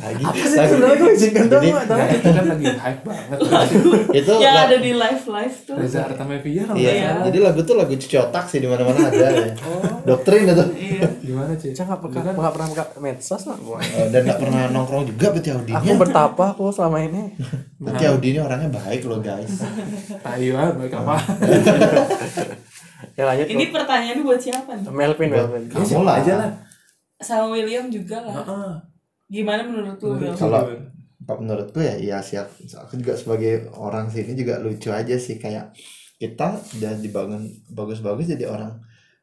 Speaker 3: lagi.
Speaker 4: apa sih
Speaker 3: lagi.
Speaker 4: sebenarnya gue izinkan doang
Speaker 3: Jadi-
Speaker 4: nggak tahu
Speaker 1: Nah, itu kan lagi hype banget. Terus
Speaker 3: Itu
Speaker 2: Yang
Speaker 3: la-
Speaker 2: Ya, ada di live-live tuh.
Speaker 1: Reza Artamevia kalau
Speaker 3: Iya.
Speaker 1: nggak salah.
Speaker 3: Jadi lagu tuh lagu cuci otak sih di mana-mana ada. ya.
Speaker 1: Oh,
Speaker 3: Doktrin itu.
Speaker 2: Iya.
Speaker 1: gimana Ci?
Speaker 4: Cah, nggak pernah nggak pernah buka medsos lah
Speaker 3: Oh, dan nggak pernah nongkrong juga berarti
Speaker 4: aku
Speaker 3: Audinya.
Speaker 4: bertapa aku selama ini
Speaker 3: Berarti
Speaker 1: Nah.
Speaker 3: Audinya orangnya baik loh guys.
Speaker 1: Tayu banget baik Nah, apa?
Speaker 4: ya lanjut
Speaker 2: Ini pertanyaan buat siapa nih?
Speaker 4: Melvin
Speaker 3: Buat
Speaker 4: Ya, Melvin
Speaker 1: Ya,
Speaker 3: kamu
Speaker 1: siapa
Speaker 3: lah.
Speaker 1: aja lah.
Speaker 2: sama William juga lah.
Speaker 1: Heeh.
Speaker 2: Gimana menurut lu?
Speaker 1: Menurut
Speaker 2: Wil?
Speaker 3: Kalau-
Speaker 1: gue.
Speaker 3: Pak, menurutku ya iya siap aku juga sebagai orang sini juga lucu aja sih kayak kita udah dibangun bagus-bagus jadi orang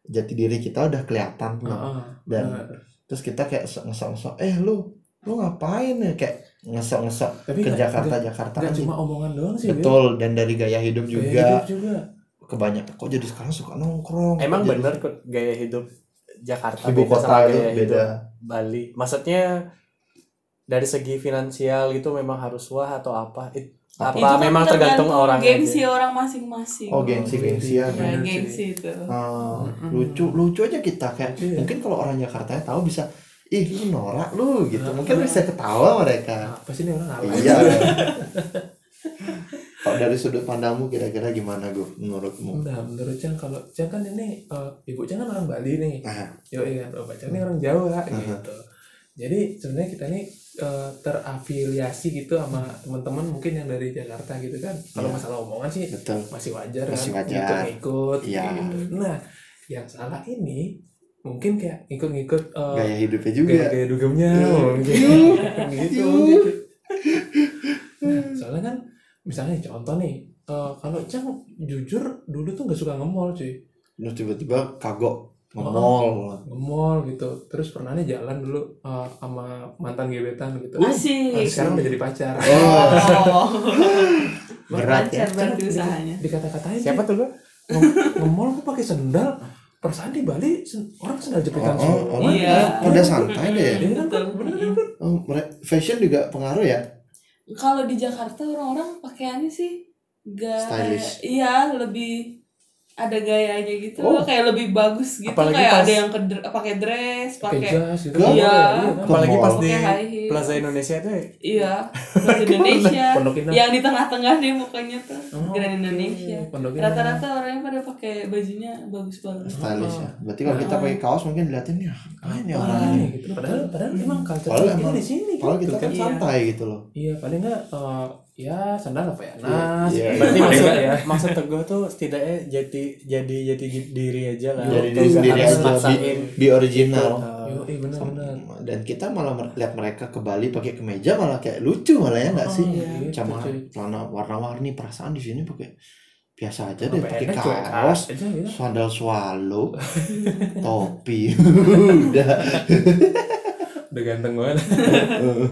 Speaker 3: jati diri kita udah kelihatan tuh.
Speaker 1: Heeh.
Speaker 3: Iya.
Speaker 1: Nah,
Speaker 3: dan
Speaker 1: Bener.
Speaker 3: terus kita kayak sok- ngesok-ngesok eh lu lu ngapain ya kayak ngesok-ngesok
Speaker 1: tapi
Speaker 3: ke
Speaker 1: nggak-
Speaker 3: Jakarta
Speaker 1: nggak-
Speaker 3: Jakarta
Speaker 1: nggak
Speaker 3: aja.
Speaker 1: Iya, cuma omongan doang sih Wil.
Speaker 3: betul dan dari gaya hidup
Speaker 1: Gaya
Speaker 3: juga
Speaker 1: hidup juga
Speaker 3: kebanyakan kok jadi sekarang suka nongkrong
Speaker 4: Emang
Speaker 3: Kok jadi-
Speaker 4: bener kok gaya hidup Jakarta
Speaker 3: ibu
Speaker 4: beda sama
Speaker 3: kota itu
Speaker 4: gaya hidup
Speaker 3: beda
Speaker 4: Bali. Maksudnya dari segi finansial gitu memang harus wah atau apa? It-
Speaker 3: Apa?
Speaker 4: apa
Speaker 2: Itu kan ya.
Speaker 4: memang tergantung orang
Speaker 2: gengsi orang masing-masing.
Speaker 3: oh gengsi
Speaker 2: Ya,
Speaker 3: gengsian
Speaker 1: gitu. Bener sih.
Speaker 2: gengsi itu.
Speaker 3: Ah,
Speaker 1: Mm-mm.
Speaker 3: lucu lucu aja kita kayak
Speaker 1: Iya.
Speaker 3: mungkin kalau orang Jakarta tahu bisa ih lu norak lu gitu
Speaker 1: Ah.
Speaker 3: mungkin bisa ketawa mereka
Speaker 1: Nah, pasti ini orang ngalah
Speaker 3: iya kalau dari sudut pandangmu kira-kira gimana gue menurutmu
Speaker 1: Nah, menurut Cang kalau Cang kan ini eh, ibu Cang kan orang Bali nih.
Speaker 3: nah
Speaker 1: Yo kan oh, Cang ini orang Jawa gitu. Jadi sebenarnya kita ini eh, terafiliasi gitu sama teman-teman mungkin yang dari Jakarta gitu kan. Kalau
Speaker 3: Iya.
Speaker 1: masalah omongan sih
Speaker 3: betul
Speaker 1: masih wajar
Speaker 3: Masih
Speaker 1: kan
Speaker 3: wajar.
Speaker 1: ikut-ikut.
Speaker 3: Iya.
Speaker 1: Nah, yang salah ini mungkin kayak ikut-ikut eh
Speaker 3: gaya hidupnya juga
Speaker 1: gaya-gaya dugemnya
Speaker 3: Iya.
Speaker 1: mungkin gitu.
Speaker 3: Iya.
Speaker 1: mungkin. Nah, soalnya kan misalnya contoh nih eh, kalau Cang jujur dulu tuh nggak suka nge-mall cuy
Speaker 3: lu tiba-tiba kagok
Speaker 1: Oh.
Speaker 3: ngemol
Speaker 1: nge-mall gitu terus pernah nih jalan dulu eh, sama mantan gebetan gitu Nah,
Speaker 2: Asik.
Speaker 1: sekarang udah jadi pacar
Speaker 2: Oh,
Speaker 3: oh berat ya
Speaker 2: lancar berarti usahanya.
Speaker 1: dikata-katain
Speaker 4: Siapa tuh gua?
Speaker 1: nge-mall kok pakai sendal perasaan di Bali sen- orang sendal jepitan
Speaker 3: Oh,
Speaker 1: semua
Speaker 3: oh, orang
Speaker 2: Iya.
Speaker 3: pada santai deh.
Speaker 1: Iya kan,
Speaker 2: Betul.
Speaker 1: bener kan, Bud?
Speaker 3: Oh, mere- fashion juga pengaruh ya
Speaker 2: Kalau di Jakarta orang-orang pakaiannya sih gak
Speaker 3: Stylish.
Speaker 2: iya lebih ada gayanya gitu
Speaker 3: Oh.
Speaker 2: loh, kayak lebih bagus gitu
Speaker 4: Apalagi
Speaker 2: kayak
Speaker 4: pas-
Speaker 2: ada yang ke pakai dress
Speaker 1: pakai
Speaker 2: pakai
Speaker 1: jas gitu
Speaker 3: Iya.
Speaker 1: kan?
Speaker 4: Apalagi pas
Speaker 3: Mall.
Speaker 4: di
Speaker 2: Pakai high heels.
Speaker 4: Plaza Indonesia ya. itu
Speaker 2: iya Plaza Indonesia
Speaker 1: Pondok Indah
Speaker 2: yang di tengah-tengah deh mukanya tuh
Speaker 1: Oh,
Speaker 2: Iya. Grand
Speaker 1: oke.
Speaker 2: Indonesia
Speaker 1: Pondok Indah.
Speaker 2: rata-rata orangnya pada pakai bajunya bagus
Speaker 1: Oh.
Speaker 2: banget
Speaker 3: stylish ya berarti kalau kita pakai kaos mungkin diliatin ya apaan ya orang
Speaker 1: Apaan
Speaker 3: ini
Speaker 1: ya, gitu. padahal padahal emang culture
Speaker 3: Hmm. Padahal
Speaker 1: kita
Speaker 3: emang-
Speaker 1: di sini gitu
Speaker 3: Padahal kita kan
Speaker 2: Iya.
Speaker 3: santai gitu loh.
Speaker 1: iya paling nggak eh, ya sandal apa ya nas
Speaker 3: Iya, iya.
Speaker 4: berarti
Speaker 1: Paling
Speaker 4: maksud,
Speaker 1: nggak ya
Speaker 4: maksud teguh tuh setidaknya jadi jadi jadi diri aja lah.
Speaker 3: Jadi
Speaker 4: Lu
Speaker 3: diri
Speaker 4: nggak
Speaker 3: sendiri
Speaker 4: harus
Speaker 3: aja,
Speaker 4: maksain.
Speaker 3: be original.
Speaker 4: Eh,
Speaker 1: Yo, iya benar benar.
Speaker 3: Dan kita malah mer- lihat mereka ke Bali pakai kemeja malah kayak lucu malah ya nggak sih?
Speaker 1: Iya, gitu,
Speaker 3: Cuma
Speaker 1: cuy.
Speaker 3: celana warna-warni perasaan di sini pakai biasa aja deh
Speaker 1: Apa ya?
Speaker 3: pakai
Speaker 1: enak, cuek
Speaker 3: kaos,
Speaker 1: aja gitu.
Speaker 3: sandal swallow, topi, udah.
Speaker 1: Udah ganteng banget.
Speaker 4: Eh.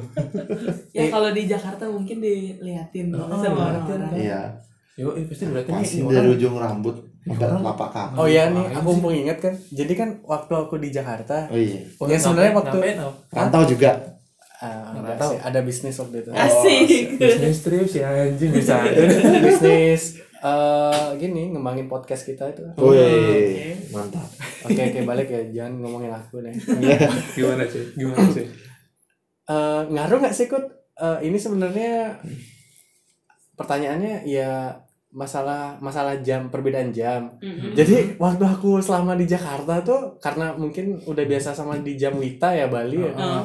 Speaker 2: ya kalau di Jakarta mungkin diliatin
Speaker 1: Oh,
Speaker 2: sama kan.
Speaker 1: diliatin.
Speaker 2: orang-orang
Speaker 3: Iya,
Speaker 1: Yo, iya pasti berarti nih,
Speaker 3: pasti
Speaker 1: ini
Speaker 3: dari
Speaker 1: orang.
Speaker 3: ujung rambut sampai
Speaker 1: orang-
Speaker 3: telapak kaki.
Speaker 4: Oh iya nih,
Speaker 1: Ngapain
Speaker 4: aku
Speaker 1: sih?
Speaker 4: mumpung ingat kan. Jadi kan waktu aku di Jakarta,
Speaker 3: Oh iya,
Speaker 1: Oh,
Speaker 4: Ya, sebenarnya
Speaker 1: ngapain-
Speaker 4: waktu-
Speaker 1: ngapain, Al?
Speaker 3: rantau juga.
Speaker 4: ah,
Speaker 1: Nggak
Speaker 4: nggak
Speaker 1: tahu.
Speaker 4: sih, ada bisnis waktu itu.
Speaker 2: asik
Speaker 1: bisnis trip si anjing bisa aja.
Speaker 4: bisnis eh gini ngembangin podcast kita itu.
Speaker 3: Oh
Speaker 4: Oke
Speaker 3: Wih, mantap.
Speaker 4: oke balik ya, jangan ngomongin aku deh.
Speaker 1: Gimana sih? Gimana sih?
Speaker 4: Eh, ngaruh nggak sih kut? Eh, ini sebenarnya pertanyaannya ya masalah masalah jam perbedaan jam.
Speaker 2: Mm-mm.
Speaker 4: Jadi waktu aku selama di Jakarta tuh karena mungkin udah biasa sama di jam Wita ya Bali
Speaker 1: Iya. Ah,
Speaker 4: ya.
Speaker 2: Heeh.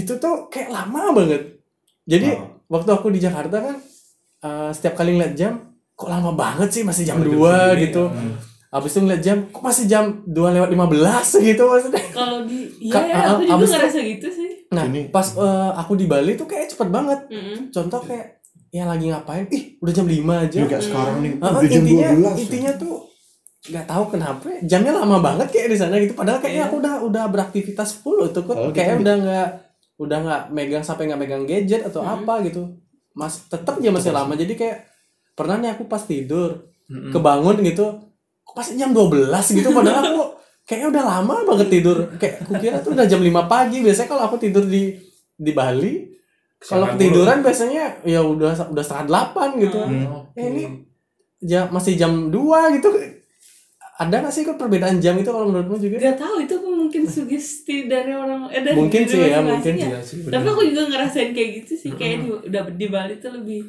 Speaker 4: Itu tuh kayak lama banget. Jadi
Speaker 3: Oh.
Speaker 4: waktu aku di Jakarta kan eh, setiap kali ngeliat jam kok lama banget sih masih jam
Speaker 1: Oh, jam
Speaker 4: 2
Speaker 1: segini,
Speaker 4: gitu.
Speaker 1: ya.
Speaker 4: Habis itu ngeliat jam kok masih jam 2 lewat 15 gitu maksudnya.
Speaker 2: kalau di iya
Speaker 4: Ka-
Speaker 2: ya,
Speaker 4: ah,
Speaker 2: aku
Speaker 4: abis
Speaker 2: juga
Speaker 4: itu-
Speaker 2: ngerasa gitu sih
Speaker 4: Nah,
Speaker 3: Ini-
Speaker 4: pas eh, aku di Bali tuh kayak cepet banget.
Speaker 2: Mm-mm.
Speaker 4: Contoh kayak yang lagi ngapain? Ih, udah jam 5 aja.
Speaker 3: Juga sekarang nih,
Speaker 4: Ah, ah,
Speaker 3: udah jam
Speaker 4: intinya
Speaker 3: 12.
Speaker 4: intinya tuh nggak tahu kenapa jamnya lama banget kayak di sana gitu padahal
Speaker 2: Iya.
Speaker 4: kayaknya aku udah udah beraktivitas full tuh kok
Speaker 3: Padahal kita
Speaker 4: kayak
Speaker 3: bi-
Speaker 4: udah nggak udah nggak megang sampai nggak megang gadget atau
Speaker 3: Hmm.
Speaker 2: Mm-mm.
Speaker 4: apa gitu mas tetap aja masih lama jadi kayak pernah nih aku pas tidur
Speaker 1: Mm-mm.
Speaker 4: kebangun gitu kok pas jam 12 gitu padahal aku kayaknya udah lama banget tidur kayak aku kira tuh udah jam 5 pagi biasanya kalau aku tidur di di Bali
Speaker 1: Kesiangan
Speaker 4: kalau ketiduran biasanya ya udah udah setengah delapan gitu
Speaker 2: Hmm.
Speaker 1: mulu. Oke.
Speaker 4: Eh, ini- jam masih jam 2 gitu ada nggak sih kok perbedaan jam itu kalau menurutmu juga
Speaker 2: Gak tahu itu aku mungkin sugesti dari orang eh dari
Speaker 4: Mungkin
Speaker 2: diri
Speaker 4: sih ya,
Speaker 2: masing-masing
Speaker 4: mungkin
Speaker 2: ya.
Speaker 1: Iya sih,
Speaker 2: Tapi
Speaker 1: bener.
Speaker 2: aku juga ngerasain kayak gitu sih, kayak di, udah di Bali tuh lebih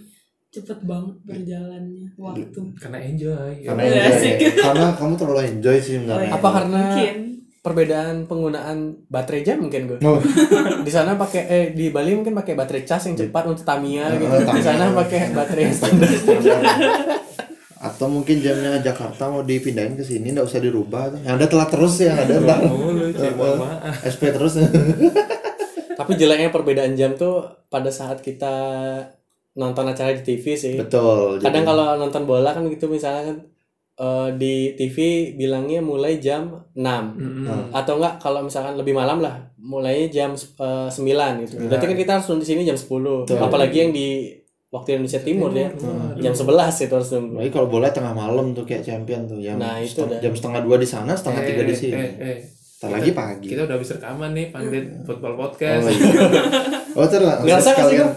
Speaker 2: cepet banget berjalannya waktu.
Speaker 1: karena enjoy. ya.
Speaker 3: Karena
Speaker 2: Iya,
Speaker 3: enjoy
Speaker 2: asik.
Speaker 3: ya. Karena kamu terlalu enjoy sih sebenarnya.
Speaker 4: Iya. Apa karena-
Speaker 2: mungkin
Speaker 4: perbedaan penggunaan baterai jam mungkin gue
Speaker 3: Oh,
Speaker 4: di sana pakai eh di Bali mungkin pakai baterai cas yang cepat untuk Tamiya gitu
Speaker 3: Oh, Tamiya.
Speaker 4: di sana pakai baterai yang standar
Speaker 3: standar. atau mungkin jamnya Jakarta mau dipindahin ke sini nggak usah dirubah yang ada telat terus ya
Speaker 4: Iya.
Speaker 3: ada ntar
Speaker 1: mulu cuma
Speaker 3: SP terus
Speaker 4: Tapi jeleknya perbedaan jam tuh pada saat kita nonton acara di TV sih.
Speaker 3: betul
Speaker 4: Kadang
Speaker 3: jadi-
Speaker 4: kalau nonton bola kan gitu misalnya kan eh, di TV bilangnya mulai jam 6
Speaker 3: Ah.
Speaker 4: atau enggak kalau misalkan lebih malam lah mulainya jam eh, 9 gitu. Berarti kan kita harus nunggu di sini jam 10.
Speaker 3: Betul.
Speaker 4: Apalagi yang di waktu Indonesia Timur ya. Jam 11 itu harus nunggu.
Speaker 3: Lagi kalau bola tengah malam tuh kayak champion tuh jam
Speaker 4: Nah, itu
Speaker 3: seteng-
Speaker 4: dah.
Speaker 3: jam setengah dua di sana setengah tiga di sini
Speaker 1: Eh, eh.
Speaker 3: Ntar lagi pagi
Speaker 1: Kita udah habis rekaman nih, pandit football podcast.
Speaker 3: oh iya oh terus
Speaker 4: Ngerasa gak sih
Speaker 3: sekalian.
Speaker 4: Mel?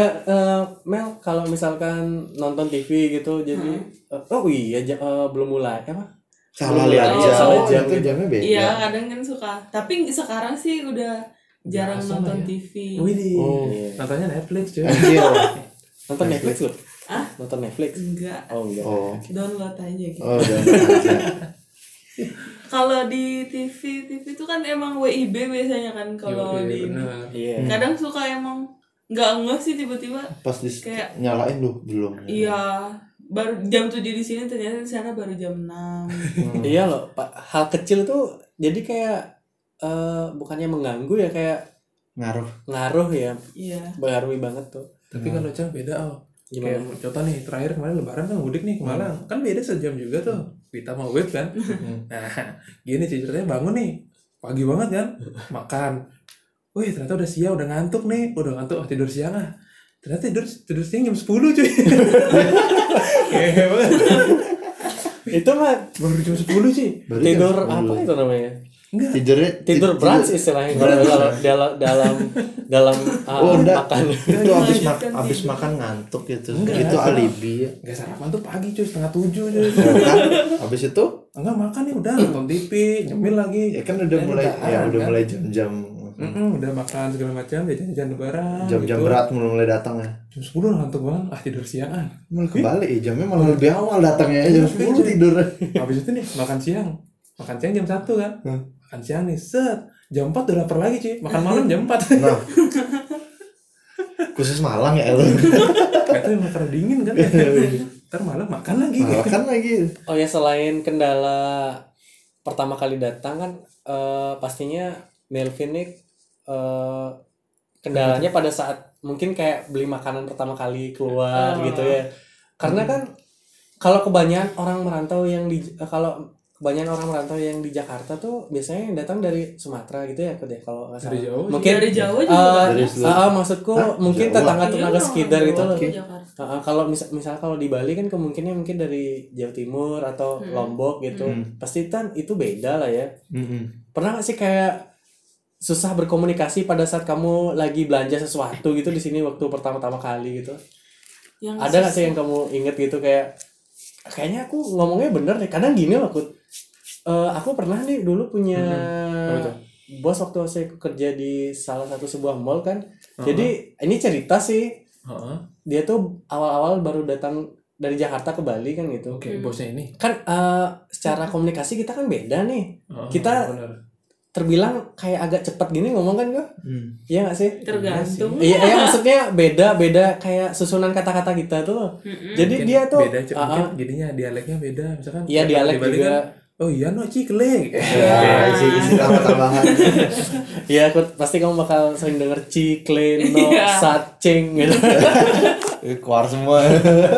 Speaker 4: Eh, eh, Mel kalau misalkan nonton TV gitu jadi eh, oh iya ja- eh, belum mulai apa?
Speaker 3: salah
Speaker 2: Oh,
Speaker 3: lihat jam
Speaker 2: salah
Speaker 4: jam
Speaker 3: itu
Speaker 4: gitu.
Speaker 3: jamnya beda
Speaker 2: Iya kadang kan suka. Tapi sekarang sih udah jarang
Speaker 1: Biasa lah
Speaker 2: nonton
Speaker 1: ya.
Speaker 2: TV.
Speaker 1: Widih.
Speaker 4: Oh.
Speaker 1: Nontonnya Netflix cuy.
Speaker 3: Anjir.
Speaker 4: Nonton Netflix loh.
Speaker 2: Hah?
Speaker 4: Nonton Netflix.
Speaker 2: Enggak.
Speaker 4: Oh enggak.
Speaker 3: oh
Speaker 2: Download aja gitu.
Speaker 3: oh udah aja.
Speaker 2: Kalau di TV, TV itu kan emang WIB biasanya kan kalau
Speaker 1: Yoi,
Speaker 2: di
Speaker 1: bener.
Speaker 4: Iya.
Speaker 2: kadang suka emang nggak ngeh sih tiba-tiba
Speaker 4: Hmm.
Speaker 3: pas di
Speaker 2: Kayak-
Speaker 3: nyalain lu belum
Speaker 2: iya baru jam 7 di sini ternyata di sana baru jam 6
Speaker 3: Hmm.
Speaker 4: Iya loh, Pak. Hal kecil tuh jadi kayak eh bukannya mengganggu ya kayak
Speaker 3: ngaruh
Speaker 4: ngaruh ya,
Speaker 2: iya
Speaker 4: berarti banget tuh.
Speaker 1: Tapi kalau jam beda oh.
Speaker 4: Gimana?
Speaker 1: Kayak contoh nih terakhir kemarin lebaran kan mudik nih ke Malang. Kan beda sejam juga tuh. Kita mau web kan. Nah, gini sih ceritanya bangun nih. Pagi banget kan, makan. Wih, ternyata udah siang, udah ngantuk nih. Udah ngantuk, ah, tidur siang ah. Ternyata tidur tidur siang jam 10 cuy. Iya banget.
Speaker 4: Itu mah
Speaker 1: Baru jam 10 sih.
Speaker 3: Baru jam
Speaker 4: tidur
Speaker 3: 10.
Speaker 4: apa itu namanya?
Speaker 1: Enggak.
Speaker 3: tidurnya
Speaker 4: Tidur
Speaker 3: kan ti-
Speaker 4: brunch istilahnya kalau dalam dalam dalam dalam ah,
Speaker 3: Oh, enggak.
Speaker 4: makan.
Speaker 3: itu abis, ma-
Speaker 2: Melanjutkan
Speaker 3: abis
Speaker 2: tidur.
Speaker 3: makan ngantuk gitu
Speaker 1: Enggak,
Speaker 3: itu
Speaker 1: enggak.
Speaker 3: alibi ya
Speaker 1: Enggak sarapan tuh pagi cuy, setengah tujuh cuy.
Speaker 3: Kan, abis itu
Speaker 1: Enggak makan nih udah nonton TV, nyemil lagi.
Speaker 4: Iya.
Speaker 3: ya kan udah
Speaker 1: Ya,
Speaker 3: mulai
Speaker 1: udahan,
Speaker 3: ya udah
Speaker 1: kan?
Speaker 3: mulai jam-jam
Speaker 1: Mm-mm, udah makan segala macam, ya jajan lebaran.
Speaker 3: jam-jam
Speaker 1: gitu.
Speaker 3: berat mulai mulai datang ya
Speaker 1: Jam 10 ngantuk banget, ah tidur siangan.
Speaker 3: malah kebalik ya jamnya malah lebih awal datangnya ya, jam
Speaker 1: Iya,
Speaker 3: 10
Speaker 1: iya.
Speaker 3: tidur
Speaker 1: Habis itu nih makan siang. Makan siang jam 1 kan.
Speaker 3: Hmm.
Speaker 1: Makan siang nih, set. Jam 4 udah lapar lagi cuy. Makan malam jam 4.
Speaker 3: nah khusus Malang ya lu
Speaker 1: Kata emang karena dingin kan.
Speaker 4: Iya,
Speaker 1: Ntar malam makan lagi.
Speaker 3: Malah kan lagi
Speaker 4: Oh ya selain kendala pertama kali datang kan eh, pastinya Melvin nih eh, kendalanya pada saat mungkin kayak beli makanan pertama kali
Speaker 2: Oh.
Speaker 4: keluar gitu ya. Karena kan kalau kebanyakan orang merantau yang di eh, kalau kebanyakan orang merantau yang di Jakarta tuh biasanya yang datang dari Sumatera gitu ya Kut, ya, kalau nggak
Speaker 1: Dari
Speaker 4: salah.
Speaker 1: jauh.
Speaker 4: Mungkin-
Speaker 2: dari Jawa juga
Speaker 4: Eh,
Speaker 2: kan?
Speaker 3: Dari
Speaker 2: Iya,
Speaker 3: seluruh-
Speaker 4: ah, ah, maksudku
Speaker 3: Hah?
Speaker 4: mungkin
Speaker 3: Jawa?
Speaker 4: tetangga-tetangga
Speaker 2: orang
Speaker 4: sekitar
Speaker 2: Jawa
Speaker 4: gitu loh.
Speaker 2: ke Jakarta.
Speaker 4: Uh, uh, kalau misal misal kalau di Bali kan kemungkinannya mungkin dari Jawa Timur atau
Speaker 2: Hmm.
Speaker 4: Lombok gitu
Speaker 3: Hmm.
Speaker 4: pasti kan itu beda lah ya
Speaker 3: Mm-mm.
Speaker 4: pernah nggak sih kayak susah berkomunikasi pada saat kamu lagi belanja sesuatu gitu di sini waktu pertama-tama kali gitu
Speaker 2: Yang
Speaker 4: ada nggak sih yang kamu inget gitu kayak kayaknya aku ngomongnya bener deh kadang gini loh aku aku pernah nih dulu punya
Speaker 1: Hmm, Apa tuh?
Speaker 4: bos waktu saya kerja di salah satu sebuah mall kan jadi ini cerita sih
Speaker 1: Heeh.
Speaker 4: dia tuh awal-awal baru datang dari Jakarta ke Bali kan gitu.
Speaker 1: Oke, bosnya ini.
Speaker 4: Kan eh, secara komunikasi kita kan beda nih.
Speaker 1: Heeh,
Speaker 4: Kita-
Speaker 1: bener.
Speaker 4: Terbilang kayak agak cepat gini ngomong kan gue? Iya gak sih?
Speaker 2: tergantung
Speaker 4: Iya, iya maksudnya beda-beda kayak susunan kata-kata kita tuh.
Speaker 2: Mm-mm.
Speaker 4: Jadi
Speaker 1: Mungkin
Speaker 4: dia tuh
Speaker 1: beda, cuy.
Speaker 4: ah, ah,
Speaker 1: mungkin jadinya dialeknya beda misalkan
Speaker 4: iya
Speaker 1: kalau
Speaker 4: dialek
Speaker 1: di Bali
Speaker 4: juga.
Speaker 1: kan, oh iya no ciklek
Speaker 3: Ya, isi isi tambah tambahan
Speaker 4: Iya, aku pasti kamu bakal sering denger cikle, no,
Speaker 2: Iya.
Speaker 4: sacing gitu.
Speaker 3: keluar semua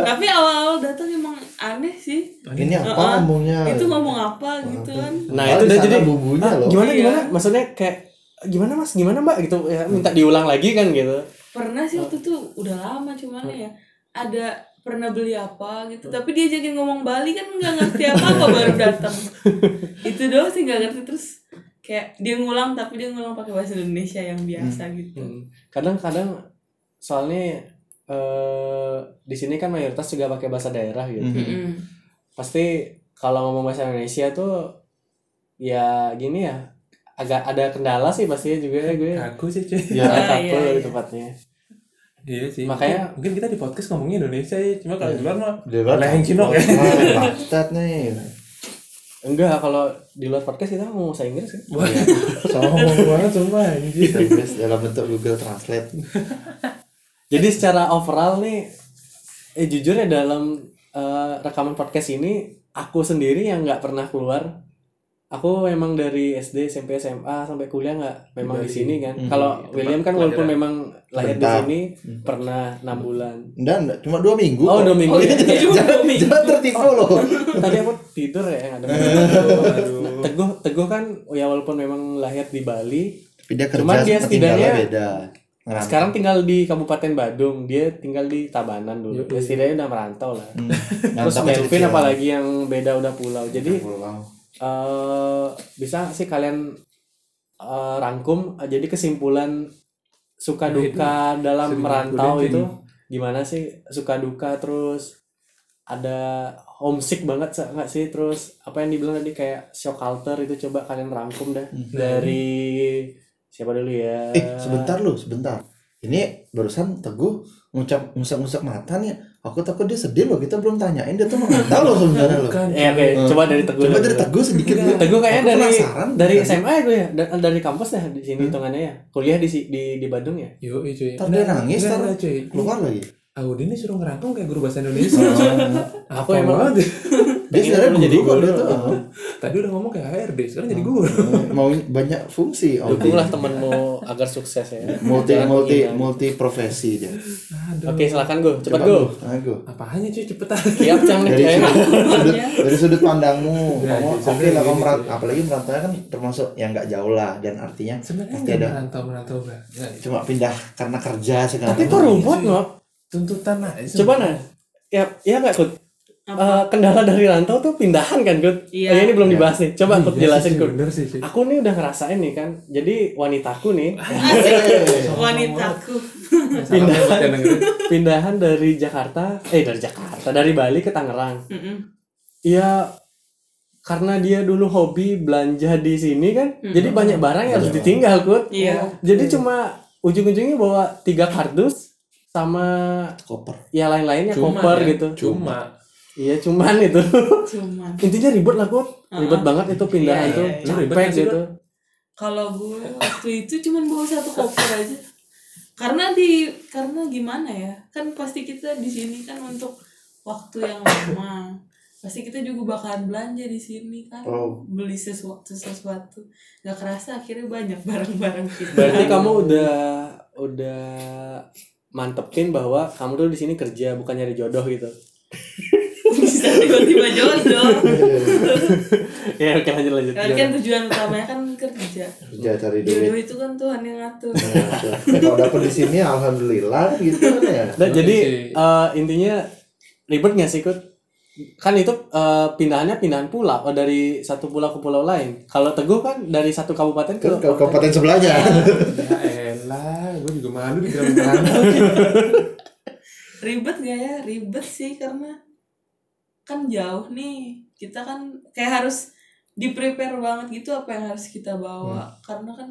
Speaker 2: tapi awal-awal datang emang aneh sih
Speaker 3: ini apa
Speaker 2: Heeh.
Speaker 3: ngomongnya
Speaker 2: itu ngomong apa gitu kan
Speaker 4: Nah,
Speaker 3: Padahal
Speaker 4: itu
Speaker 3: di
Speaker 4: udah
Speaker 3: sana
Speaker 4: jadi-
Speaker 3: bumbunya
Speaker 4: Ah,
Speaker 3: loh
Speaker 4: gimana
Speaker 2: Iya.
Speaker 4: gimana? Maksudnya kayak gimana Mas? Gimana Mbak gitu ya, minta diulang lagi kan gitu.
Speaker 2: pernah sih waktu itu udah lama cuman ya ada pernah beli apa gitu tapi dia jadi ngomong Bali kan nggak ngerti apa apa baru datang itu doang sih nggak ngerti terus kayak dia ngulang tapi dia ngulang pakai bahasa Indonesia yang biasa gitu
Speaker 4: Hmm. kadang-kadang soalnya eh di sini kan mayoritas juga pakai bahasa daerah gitu
Speaker 3: Mhm.
Speaker 2: Mm-mm.
Speaker 4: pasti kalau ngomong bahasa Indonesia tuh ya gini ya agak ada kendala sih pastinya juga ya gue
Speaker 1: aku sih cuy
Speaker 3: ya
Speaker 2: Ah,
Speaker 4: Agak
Speaker 2: iya,
Speaker 4: kaku
Speaker 2: iya.
Speaker 4: di tempatnya
Speaker 1: Iya sih.
Speaker 4: Makanya-
Speaker 1: mungkin, mungkin kita di podcast ngomongin Indonesia ya, cuma kalau di luar mah
Speaker 3: Di luar
Speaker 1: Leheng Cino ya.
Speaker 3: Wah, Bangsat nih.
Speaker 4: enggak kalau di luar podcast kita ngomong bahasa Inggris kan
Speaker 1: Wah, sombong banget semua anjir.
Speaker 3: Terus dalam bentuk Google Translate.
Speaker 4: jadi secara overall nih eh jujur ya dalam eh, rekaman podcast ini aku sendiri yang nggak pernah keluar. Aku memang dari SD, SMP, SMA sampai kuliah nggak memang di
Speaker 1: Dari-
Speaker 4: sini kan.
Speaker 3: Mhm.
Speaker 4: Kalau
Speaker 1: Tempat
Speaker 4: William kan walaupun
Speaker 1: pelajaran.
Speaker 4: memang lahir di
Speaker 3: Bentar.
Speaker 4: sini
Speaker 3: Hmm.
Speaker 1: Mhm.
Speaker 4: pernah enam bulan.
Speaker 3: Enggak, enggak. cuma dua minggu.
Speaker 4: Oh,
Speaker 3: kok.
Speaker 4: dua minggu.
Speaker 2: Oh, iya.
Speaker 4: Iya.
Speaker 2: Cuma dua
Speaker 3: jangan,
Speaker 2: minggu.
Speaker 3: jangan tertipu loh.
Speaker 4: Tadi aku tidur ya nggak ada.
Speaker 1: Aduh.
Speaker 4: Teguh, Teguh kan ya walaupun memang lahir di Bali,
Speaker 3: Tapi dia kerja
Speaker 4: Cuman dia
Speaker 3: tinggalnya
Speaker 4: setidaknya-
Speaker 3: beda. Ngerantau.
Speaker 4: Sekarang tinggal di Kabupaten Badung, dia tinggal di Tabanan dulu.
Speaker 1: Yoi. Mhm.
Speaker 4: Ya, setidaknya udah merantau lah.
Speaker 3: Hmm.
Speaker 4: Terus
Speaker 3: Ngerantau
Speaker 4: Melvin
Speaker 3: kecil-kecilan.
Speaker 4: apalagi yang beda udah pulau. Jadi
Speaker 3: Pulau.
Speaker 4: eh bisa nggak sih kalian eh, rangkum eh, jadi kesimpulan suka
Speaker 1: Ya,
Speaker 4: duka dalam
Speaker 1: sering
Speaker 4: merantau
Speaker 1: aku liatin.
Speaker 4: itu gimana sih suka duka terus ada homesick banget sa- nggak sih terus apa yang dibilang tadi kayak shock culture itu coba kalian rangkum dah
Speaker 3: Hmm.
Speaker 4: dari siapa dulu ya
Speaker 3: Eh, sebentar lu, sebentar. Ini barusan Teguh ngucap ngusak-ngusak mata nih. Aku takut dia sedih loh. Kita belum tanyain dia tuh mengental loh sebenarnya loh.
Speaker 1: Bukan.
Speaker 4: Eh, oke,
Speaker 3: Hmm.
Speaker 4: coba dari Teguh.
Speaker 3: Coba
Speaker 4: dulu.
Speaker 3: dari Teguh sedikit
Speaker 4: Teguh. Iya, kayaknya
Speaker 3: Iya, Aku
Speaker 4: dari
Speaker 3: penasaran. Iya, Hmm.
Speaker 4: dari
Speaker 3: Tadi.
Speaker 4: SMA ya gue ya, Da- dari kampus ya di sini hitungannya ya. Kuliah di si- di di Badung ya.
Speaker 1: Yo, cuy.
Speaker 3: Ntar dia nangis,
Speaker 1: Nggak,
Speaker 3: ntar-
Speaker 1: nggak, cuy.
Speaker 3: keluar lagi.
Speaker 1: Audin ini suruh ngerangkum kayak guru bahasa Indonesia.
Speaker 3: Oh.
Speaker 1: Aku
Speaker 4: Aku emang-
Speaker 1: emang
Speaker 3: dia
Speaker 4: Pengen
Speaker 3: sebenarnya
Speaker 4: lu
Speaker 3: guru
Speaker 4: jadi
Speaker 3: kok dia
Speaker 4: guru.
Speaker 3: tuh. Oh.
Speaker 1: tadi udah ngomong kayak HRD, sekarang jadi guru.
Speaker 3: Mau banyak fungsi. oh, dia.
Speaker 4: Dukunglah temenmu agar sukses ya.
Speaker 3: multi
Speaker 4: Jangan
Speaker 3: multi
Speaker 4: menghina.
Speaker 3: multi profesi dia.
Speaker 1: Aduh.
Speaker 4: Oke, silakan gue. Cepat
Speaker 3: Coba
Speaker 4: gue.
Speaker 3: Gu. Nah, Gu.
Speaker 1: Apanya cuy cepetan.
Speaker 4: Siap cang nih.
Speaker 3: Dari
Speaker 4: eh.
Speaker 3: sudut, sudut-
Speaker 2: Iya.
Speaker 3: dari sudut pandangmu,
Speaker 1: Ya,
Speaker 3: kamu
Speaker 1: jadi
Speaker 3: oke lah kamu
Speaker 1: gini,
Speaker 3: merant-
Speaker 4: gitu.
Speaker 1: gini.
Speaker 3: apalagi merantau kan termasuk yang nggak jauh lah dan artinya
Speaker 1: Sebenarnya
Speaker 3: Pasti
Speaker 1: nggak
Speaker 3: ada.
Speaker 1: merantau merantau enggak.
Speaker 3: cuma pindah karena kerja segala
Speaker 4: Tapi
Speaker 3: macam.
Speaker 4: kok rumput nggak?
Speaker 1: Tuntutan aja.
Speaker 4: Coba nah. Ya, ya nggak Kut?
Speaker 2: Apa?
Speaker 4: Eh, kendala dari rantau tuh pindahan kan Kut?
Speaker 2: Iya.
Speaker 4: Eh, ini
Speaker 3: Iya.
Speaker 4: belum dibahas nih. Coba
Speaker 1: Iya
Speaker 4: Kut
Speaker 1: sih,
Speaker 4: jelasin
Speaker 1: cuy,
Speaker 4: Kut.
Speaker 1: Bener sih cuy.
Speaker 4: Aku nih udah ngerasain nih kan. Jadi wanitaku nih
Speaker 3: Eh,
Speaker 2: wanitaku
Speaker 4: Pindah.
Speaker 1: Salam buat yang dengerin.
Speaker 4: pindahan dari Jakarta, eh dari Jakarta, dari Bali ke Tangerang.
Speaker 2: Mm-mm.
Speaker 4: Iya karena dia dulu hobi belanja di sini kan,
Speaker 2: Hmm.
Speaker 4: jadi banyak barang yang harus
Speaker 3: Iya.
Speaker 4: ditinggal kut.
Speaker 2: Iya.
Speaker 4: Jadi cuma ujung-ujungnya bawa tiga kardus sama
Speaker 3: koper.
Speaker 4: ya lain-lainnya
Speaker 1: Cuma, ya.
Speaker 4: koper gitu.
Speaker 1: Cuma
Speaker 4: Iya cuman itu
Speaker 2: cuman
Speaker 4: intinya ribet lah kut, ribet
Speaker 2: Uh-uh.
Speaker 4: banget itu pindahan
Speaker 2: Iya,
Speaker 4: tuh,
Speaker 2: iya, iya.
Speaker 1: Lu ribet
Speaker 4: capek
Speaker 1: nggak sih,
Speaker 4: gitu.
Speaker 2: kalau gue waktu itu cuman bawa satu koper aja karena di karena gimana ya kan pasti kita di sini kan untuk waktu yang lama pasti kita juga bakalan belanja di sini kan
Speaker 3: Oh.
Speaker 2: beli sesuatu sesuatu nggak kerasa akhirnya banyak barang-barang kita
Speaker 4: Berarti kamu udah udah mantepin bahwa kamu tuh di sini kerja bukan nyari jodoh gitu.
Speaker 2: bisa tiba-tiba jodoh
Speaker 4: ya oke lanjut lanjut.
Speaker 2: Karena kan tujuan utamanya kan kerja
Speaker 3: Kerja cari duit.
Speaker 2: jodoh itu kan Tuhan yang ngatur
Speaker 3: Ya, kalau dapet di sini alhamdulillah gitu kan ya.
Speaker 4: Nah,
Speaker 1: Oke
Speaker 4: jadi
Speaker 1: sih.
Speaker 4: eh, intinya ribet nggak sih Kut? Kan itu eh, pindahannya pindahan pulau oh, dari satu pulau ke pulau lain. Kalau Teguh kan dari satu kabupaten ke
Speaker 3: Ke ke kabupaten sebelahnya.
Speaker 1: ya elah, gue juga malu dibilang merantau.
Speaker 2: ribet gak ya ribet sih karena kan jauh nih kita kan kayak harus di prepare banget gitu apa yang harus kita bawa karena kan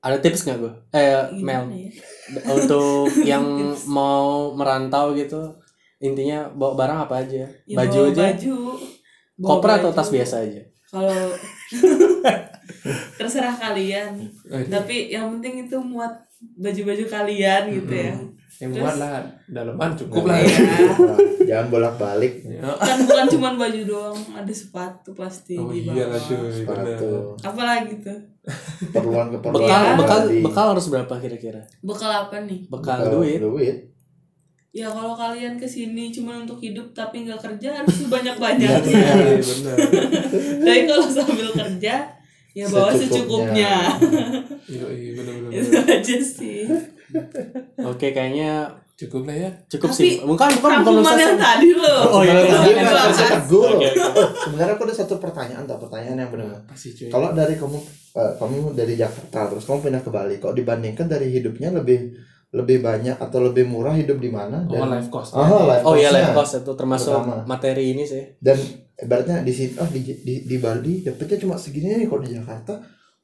Speaker 4: Ada tips nggak gue? Eh
Speaker 2: gimana
Speaker 4: Hmm.
Speaker 2: ya
Speaker 4: Mel untuk yang mau merantau gitu intinya bawa barang apa aja?
Speaker 2: Ya, bawa
Speaker 4: baju aja,
Speaker 2: baju Bawa
Speaker 4: koper atau
Speaker 2: baju.
Speaker 4: tas biasa aja?
Speaker 2: kalau terserah kalian
Speaker 4: Hmm.
Speaker 1: Aduh,
Speaker 2: tapi yang penting itu muat baju-baju kalian gitu ya
Speaker 4: Hmm.
Speaker 1: Yang muat lah, daleman cukup
Speaker 4: ya.
Speaker 1: lah.
Speaker 2: Iya.
Speaker 3: Nah, Jangan bolak-balik
Speaker 1: Ya.
Speaker 2: kan bukan cuman baju doang ada sepatu pasti
Speaker 1: Oh
Speaker 2: di
Speaker 1: iya
Speaker 2: bawah.
Speaker 1: lah cuy, bener.
Speaker 3: sepatu,
Speaker 2: apalagi tuh
Speaker 3: keperluan keperluan.
Speaker 4: Bekal
Speaker 2: Iya.
Speaker 4: bekal bekal harus berapa kira-kira?
Speaker 2: bekal apa nih
Speaker 4: Bekal duit.
Speaker 3: Duit.
Speaker 2: Ya kalau kalian kesini cuma untuk hidup tapi nggak kerja harus
Speaker 1: Iya,
Speaker 2: sebanyak-banyaknya.
Speaker 1: bener.
Speaker 2: Tapi kalau sambil kerja ya bawa secukupnya.
Speaker 1: Iya, iya, bener,
Speaker 3: Hmm.
Speaker 1: bener,
Speaker 2: Itu
Speaker 1: bener.
Speaker 2: aja sih.
Speaker 4: Oke, kayaknya
Speaker 1: Cukup lah ya.
Speaker 2: Tapi,
Speaker 4: cukup sih. Bukan bukan bukan
Speaker 2: Rangkuman
Speaker 4: lulusan.
Speaker 2: yang tadi loh.
Speaker 4: Oh,
Speaker 2: Itu
Speaker 4: iya.
Speaker 3: Tadi kan.
Speaker 2: yang
Speaker 3: nggak
Speaker 2: dibahas.
Speaker 3: bisa teguh.
Speaker 4: Oke, oke.
Speaker 3: Sebenarnya aku ada satu pertanyaan, tak pertanyaan yang benar.
Speaker 1: Apa sih cuy?
Speaker 3: Iya. Kalau dari kamu, eh, kamu dari Jakarta terus kamu pindah ke Bali, kok dibandingkan dari hidupnya lebih lebih banyak atau lebih murah hidup di mana?
Speaker 1: Oh,
Speaker 3: Dan,
Speaker 1: life cost.
Speaker 3: Oh, life
Speaker 4: Oh iya
Speaker 3: cost-nya.
Speaker 4: life cost itu termasuk
Speaker 3: Pertama.
Speaker 4: materi ini sih.
Speaker 3: dan ibaratnya di sini, oh di, di, di Bali dapetnya cuma segini nih, kalau di Jakarta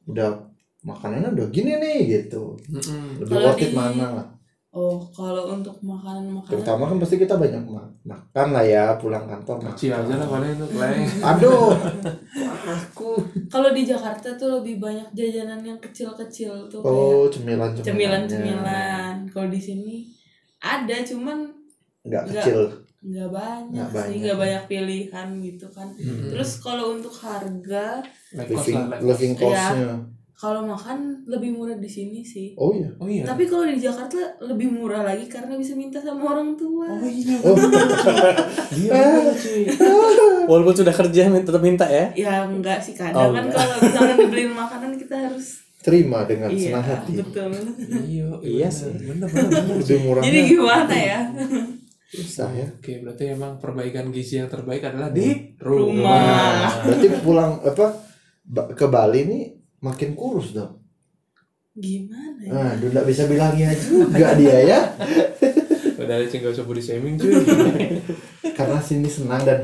Speaker 3: udah makanannya udah gini nih gitu.
Speaker 1: Mm-mm.
Speaker 3: Lebih
Speaker 2: Kalau
Speaker 3: worth
Speaker 2: di-
Speaker 3: it
Speaker 2: Ah.
Speaker 3: mana lah.
Speaker 2: Oh, kalau untuk makanan-makanan
Speaker 3: Terutama kan pasti kita banyak ma- makan lah ya pulang kantor
Speaker 1: Kecil aja lah
Speaker 3: makan.
Speaker 1: paling itu kleng.
Speaker 3: Aduh, aku.
Speaker 2: kalau di Jakarta tuh lebih banyak jajanan yang kecil-kecil tuh kayak
Speaker 3: Oh cemilan
Speaker 2: cemilan-cemilan. Kalau di sini ada cuman
Speaker 3: Nggak
Speaker 2: Nggak.
Speaker 3: kecil.
Speaker 2: nggak banyak
Speaker 3: Nggak
Speaker 2: sih
Speaker 3: banyak. ya.
Speaker 2: nggak banyak pilihan gitu kan
Speaker 1: Hmm.
Speaker 2: terus kalau untuk harga
Speaker 1: Naik kos
Speaker 3: living
Speaker 1: lah, naik kos.
Speaker 3: living
Speaker 2: Iya.
Speaker 3: costnya
Speaker 2: kalau makan lebih murah di sini sih
Speaker 3: oh iya
Speaker 1: Oh iya.
Speaker 2: tapi kalau di Jakarta lebih murah lagi karena bisa minta sama orang tua
Speaker 1: Oh iya.
Speaker 3: oh
Speaker 1: Iya, bener, cuy.
Speaker 4: Walaupun sudah kerja min- tetap minta ya.
Speaker 2: ya enggak sih
Speaker 4: Oh,
Speaker 2: kadang kan
Speaker 4: enggak.
Speaker 2: kalau misalnya dibeliin makanan kita harus
Speaker 3: terima dengan
Speaker 2: iya
Speaker 3: senang hati
Speaker 2: betul
Speaker 1: Iya,
Speaker 4: Iya
Speaker 1: iya
Speaker 4: sih.
Speaker 1: sih. Bener bener bener.
Speaker 3: lebih murahnya
Speaker 2: jadi gimana ya
Speaker 3: susah ya
Speaker 1: Oke, berarti emang perbaikan gizi yang terbaik adalah di
Speaker 2: Rumah.
Speaker 1: rumah.
Speaker 3: berarti pulang apa ba- ke Bali nih makin kurus dong
Speaker 2: gimana ya
Speaker 3: nah aduh nggak bisa bilangnya juga dia ya
Speaker 1: Udah ada nggak usah body shaming cuy.
Speaker 3: karena sini senang dan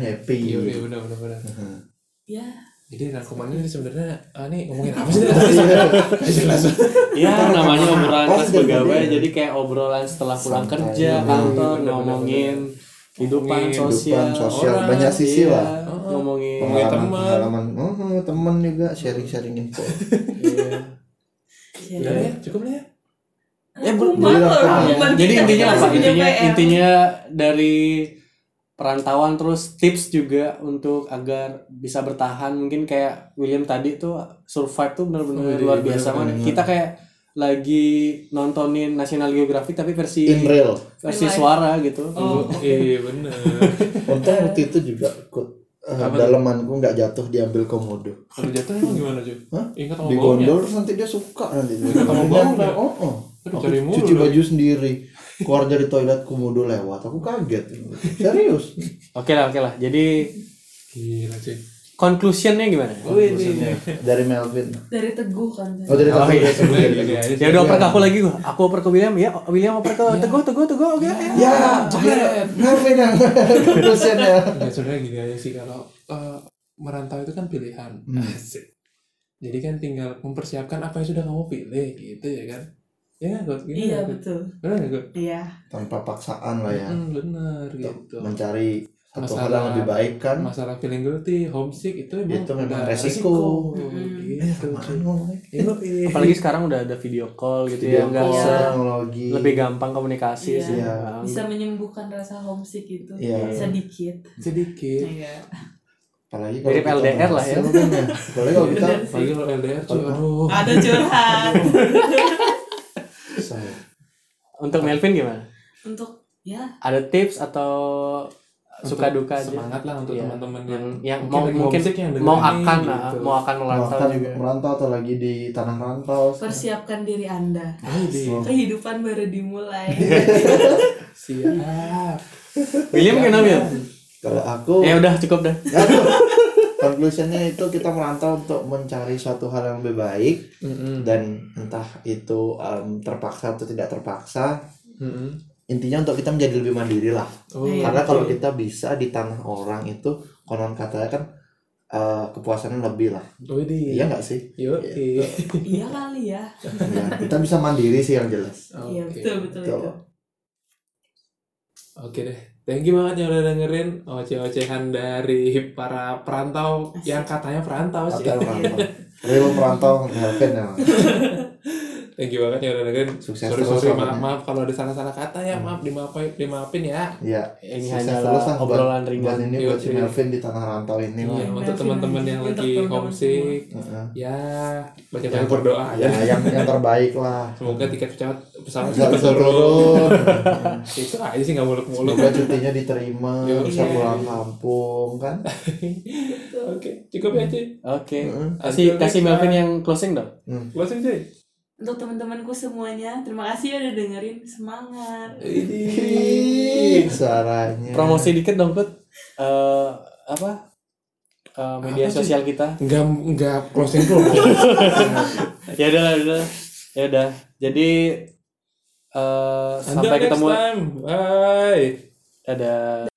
Speaker 1: Iya,
Speaker 3: happy
Speaker 1: iya benar benar benar.
Speaker 2: ya
Speaker 1: Jadi narkomannya ini sebenarnya ah, ini ngomongin apa sih? tadi?
Speaker 3: Iya.
Speaker 1: Jelas.
Speaker 4: Ya
Speaker 3: Karena
Speaker 4: namanya
Speaker 3: karena
Speaker 4: obrolan
Speaker 3: kos
Speaker 4: pas
Speaker 3: dan
Speaker 4: pegawai
Speaker 3: gede.
Speaker 4: jadi kayak obrolan setelah pulang
Speaker 3: Santai.
Speaker 4: kerja
Speaker 3: Iya,
Speaker 4: kantor
Speaker 1: bener-bener.
Speaker 4: ngomongin kehidupan
Speaker 1: Ngomongin
Speaker 4: sosial,
Speaker 3: kehidupan sosial,
Speaker 4: orang,
Speaker 3: banyak sisi
Speaker 4: iya,
Speaker 3: lah.
Speaker 4: ngomongin
Speaker 1: Ngomongin
Speaker 3: pengalaman
Speaker 1: teman.
Speaker 3: pengalaman oh, teman juga sharing sharing info
Speaker 4: iya.
Speaker 2: ya.
Speaker 1: Udah ya, cukup lah ya.
Speaker 4: Eh, belum-
Speaker 2: Kumpulan
Speaker 3: belum
Speaker 2: orang
Speaker 3: lengkap.
Speaker 2: kumpulan
Speaker 4: jadi
Speaker 2: kita,
Speaker 4: intinya
Speaker 2: kita
Speaker 4: apa
Speaker 2: masih punya
Speaker 4: intinya
Speaker 2: PR.
Speaker 4: intinya dari perantauan terus tips juga untuk agar bisa bertahan mungkin kayak William tadi tuh survive tuh benar-benar
Speaker 1: Oh, iya,
Speaker 4: luar biasa banget
Speaker 3: bener-bener.
Speaker 4: kita kayak lagi nontonin National Geographic tapi versi
Speaker 3: in real
Speaker 4: versi
Speaker 2: In life.
Speaker 4: suara gitu
Speaker 2: Oh.
Speaker 1: Iya benar.
Speaker 3: untung waktu itu juga ikut eh,
Speaker 1: Apa tuh?
Speaker 3: dalemanku nggak jatuh diambil komodo
Speaker 1: Kalau jatuh emang gimana cuy?
Speaker 3: Hah?
Speaker 1: Ingat sama
Speaker 3: di
Speaker 1: baunya.
Speaker 3: gondol terus nanti dia suka nanti
Speaker 1: Iya, kamu
Speaker 3: Kemudian,
Speaker 1: baunya.
Speaker 3: oh, oh.
Speaker 1: Aduh,
Speaker 3: Aku
Speaker 1: cari mulu
Speaker 3: cuci
Speaker 1: lu.
Speaker 3: baju sendiri keluar dari toilet komodo lewat aku kaget serius
Speaker 4: oke lah oke lah jadi
Speaker 1: Gila cuy.
Speaker 4: conclusionnya gimana
Speaker 1: Wih,
Speaker 3: Maksudnya, dari Melvin
Speaker 2: dari teguh kan
Speaker 3: oh dari
Speaker 4: Oh,
Speaker 3: kamu
Speaker 4: iya.
Speaker 3: ya
Speaker 1: Udah gini aja
Speaker 4: ya
Speaker 1: sih.
Speaker 4: udah oper ke aku lagi gua aku oper ke William ya William oper ke teguh teguh teguh oke
Speaker 3: ya akhirnya Melvin yang dosen ya
Speaker 1: Enggak sebenarnya gini aja sih kalau eh, merantau itu kan pilihan.
Speaker 3: Hmm.
Speaker 1: Asik. Jadi kan tinggal mempersiapkan apa yang sudah kamu pilih gitu ya kan. Ya nggak Gut? Gini nggak,
Speaker 2: iya
Speaker 1: Gut?
Speaker 2: betul
Speaker 1: Bener nggak, Gut?
Speaker 2: iya
Speaker 3: tanpa paksaan lah ya
Speaker 1: Hmm, bener gitu.
Speaker 3: mencari satu hal
Speaker 1: Masalah-
Speaker 3: yang lebih baik kan
Speaker 1: Masalah feeling guilty, homesick itu emang
Speaker 3: Itu memang
Speaker 1: ada
Speaker 3: resiko. Hmm.
Speaker 1: resiko.
Speaker 2: Mm.
Speaker 1: Gitu.
Speaker 3: Apaan
Speaker 1: cuy.
Speaker 3: ngomongnya?
Speaker 1: Iya, iya.
Speaker 4: apalagi sekarang udah ada video call gitu ya
Speaker 3: Video
Speaker 4: nggak
Speaker 3: call,
Speaker 4: usah
Speaker 3: teknologi
Speaker 4: lebih gampang komunikasi
Speaker 2: Iya.
Speaker 4: sih
Speaker 3: Iya.
Speaker 4: Bang.
Speaker 2: bisa menyembuhkan rasa homesick itu
Speaker 3: Iya.
Speaker 2: sedikit
Speaker 1: sedikit.
Speaker 2: iya
Speaker 3: apalagi
Speaker 4: Mirip
Speaker 3: kita
Speaker 4: LDR lah ya. Iya,
Speaker 3: berhasil kan ya apalagi kalau kita
Speaker 2: Bener
Speaker 1: Apalagi
Speaker 2: sih.
Speaker 1: kalau LDR cuy,
Speaker 3: Kalau-
Speaker 1: aduh.
Speaker 2: ada curhat
Speaker 3: Saya.
Speaker 4: untuk Melvin gimana
Speaker 2: untuk ya
Speaker 4: ada tips atau suka
Speaker 1: Untuk
Speaker 4: duka aja
Speaker 1: semangat lah untuk
Speaker 4: Iya.
Speaker 1: teman-teman
Speaker 4: yang
Speaker 1: yang,
Speaker 4: yang
Speaker 1: mungkin
Speaker 4: mau
Speaker 1: lagi
Speaker 4: mungkin
Speaker 1: homesick yang
Speaker 4: mau
Speaker 1: dengerin ini,
Speaker 4: akan ah,
Speaker 1: gitu.
Speaker 4: mau akan
Speaker 3: merantau,
Speaker 4: melantau juga
Speaker 3: merantau atau lagi di tanah rantau
Speaker 2: persiapkan diri anda
Speaker 1: Ayo, Di.
Speaker 3: Oh.
Speaker 2: kehidupan baru dimulai
Speaker 1: Siap.
Speaker 4: William kenapa ya
Speaker 3: kalau aku
Speaker 4: ya udah cukup dah
Speaker 3: Aduh. Conclusionnya itu kita merantau untuk mencari suatu hal yang lebih baik
Speaker 1: Mm-mm.
Speaker 3: dan entah itu em, terpaksa atau tidak terpaksa
Speaker 1: Mm-mm.
Speaker 3: intinya untuk kita menjadi lebih mandiri lah
Speaker 1: Oh,
Speaker 2: Iya,
Speaker 3: karena kalau
Speaker 1: betul.
Speaker 3: kita bisa di tanah orang itu konon katanya kan eh, kepuasannya lebih lah
Speaker 1: Oh, di.
Speaker 3: iya nggak sih
Speaker 1: Yuk, iya.
Speaker 2: iya kali ya
Speaker 3: Ya, kita bisa mandiri sih yang jelas
Speaker 2: iya
Speaker 1: Oke.
Speaker 2: betul betul
Speaker 3: Betul.
Speaker 2: itu
Speaker 1: Oke deh, thank you banget yang udah dengerin oceh-ocehan dari para perantau yang katanya perantau Oh, sih.
Speaker 3: Hotel merantau real merantau Melvin ya
Speaker 1: Thank you banget yang udah dengerin.
Speaker 3: Sukses
Speaker 1: sorry,
Speaker 3: terus, ya,
Speaker 1: sorry,
Speaker 3: Bang. Hmm.
Speaker 1: maaf, maaf kalau ada salah-salah kata ya, maaf dimaafin, dimaafin ya.
Speaker 3: ya
Speaker 4: ini
Speaker 3: sukses
Speaker 4: hanyalah
Speaker 3: lah buat-
Speaker 4: obrolan
Speaker 3: buat
Speaker 4: ringan
Speaker 3: ini
Speaker 1: Iya,
Speaker 3: buat si
Speaker 1: iya.
Speaker 3: Melvin di tanah rantau ini
Speaker 1: Iya,
Speaker 3: lah
Speaker 2: Maafin
Speaker 1: untuk teman-teman
Speaker 2: aja.
Speaker 1: yang
Speaker 2: Untuk
Speaker 1: lagi
Speaker 2: teman-teman
Speaker 1: homesick,
Speaker 3: Heeh.
Speaker 1: ya banyak-banyak berdoa
Speaker 3: ya
Speaker 1: ya.
Speaker 3: yang yang terbaik lah
Speaker 1: Semoga tiket pesawat pesawat
Speaker 3: bisa
Speaker 1: cepat
Speaker 3: bisa
Speaker 1: turun.
Speaker 3: turun
Speaker 1: Itu aja sih nggak muluk-muluk.
Speaker 3: semoga cutinya diterima
Speaker 1: Iya.
Speaker 3: bisa pulang kampung kan
Speaker 1: Oke, cukup ya cuy.
Speaker 4: oke
Speaker 3: Heeh. Hmm.
Speaker 4: kasih kasih Melvin yang closing dong
Speaker 1: Closing cuy.
Speaker 2: untuk teman-temanku semuanya terima kasih ya udah dengerin semangat
Speaker 1: Iya. Ini.
Speaker 3: caranya
Speaker 4: promosi dikit dong Put Eh, apa Eh, media
Speaker 1: Apa sih?
Speaker 4: sosial kita
Speaker 1: Nggak nggak closing dulu.
Speaker 4: ya udah lah, udah ya udah jadi eh,
Speaker 1: Sampai
Speaker 4: sampai ketemu
Speaker 1: next time. Bye.
Speaker 4: ada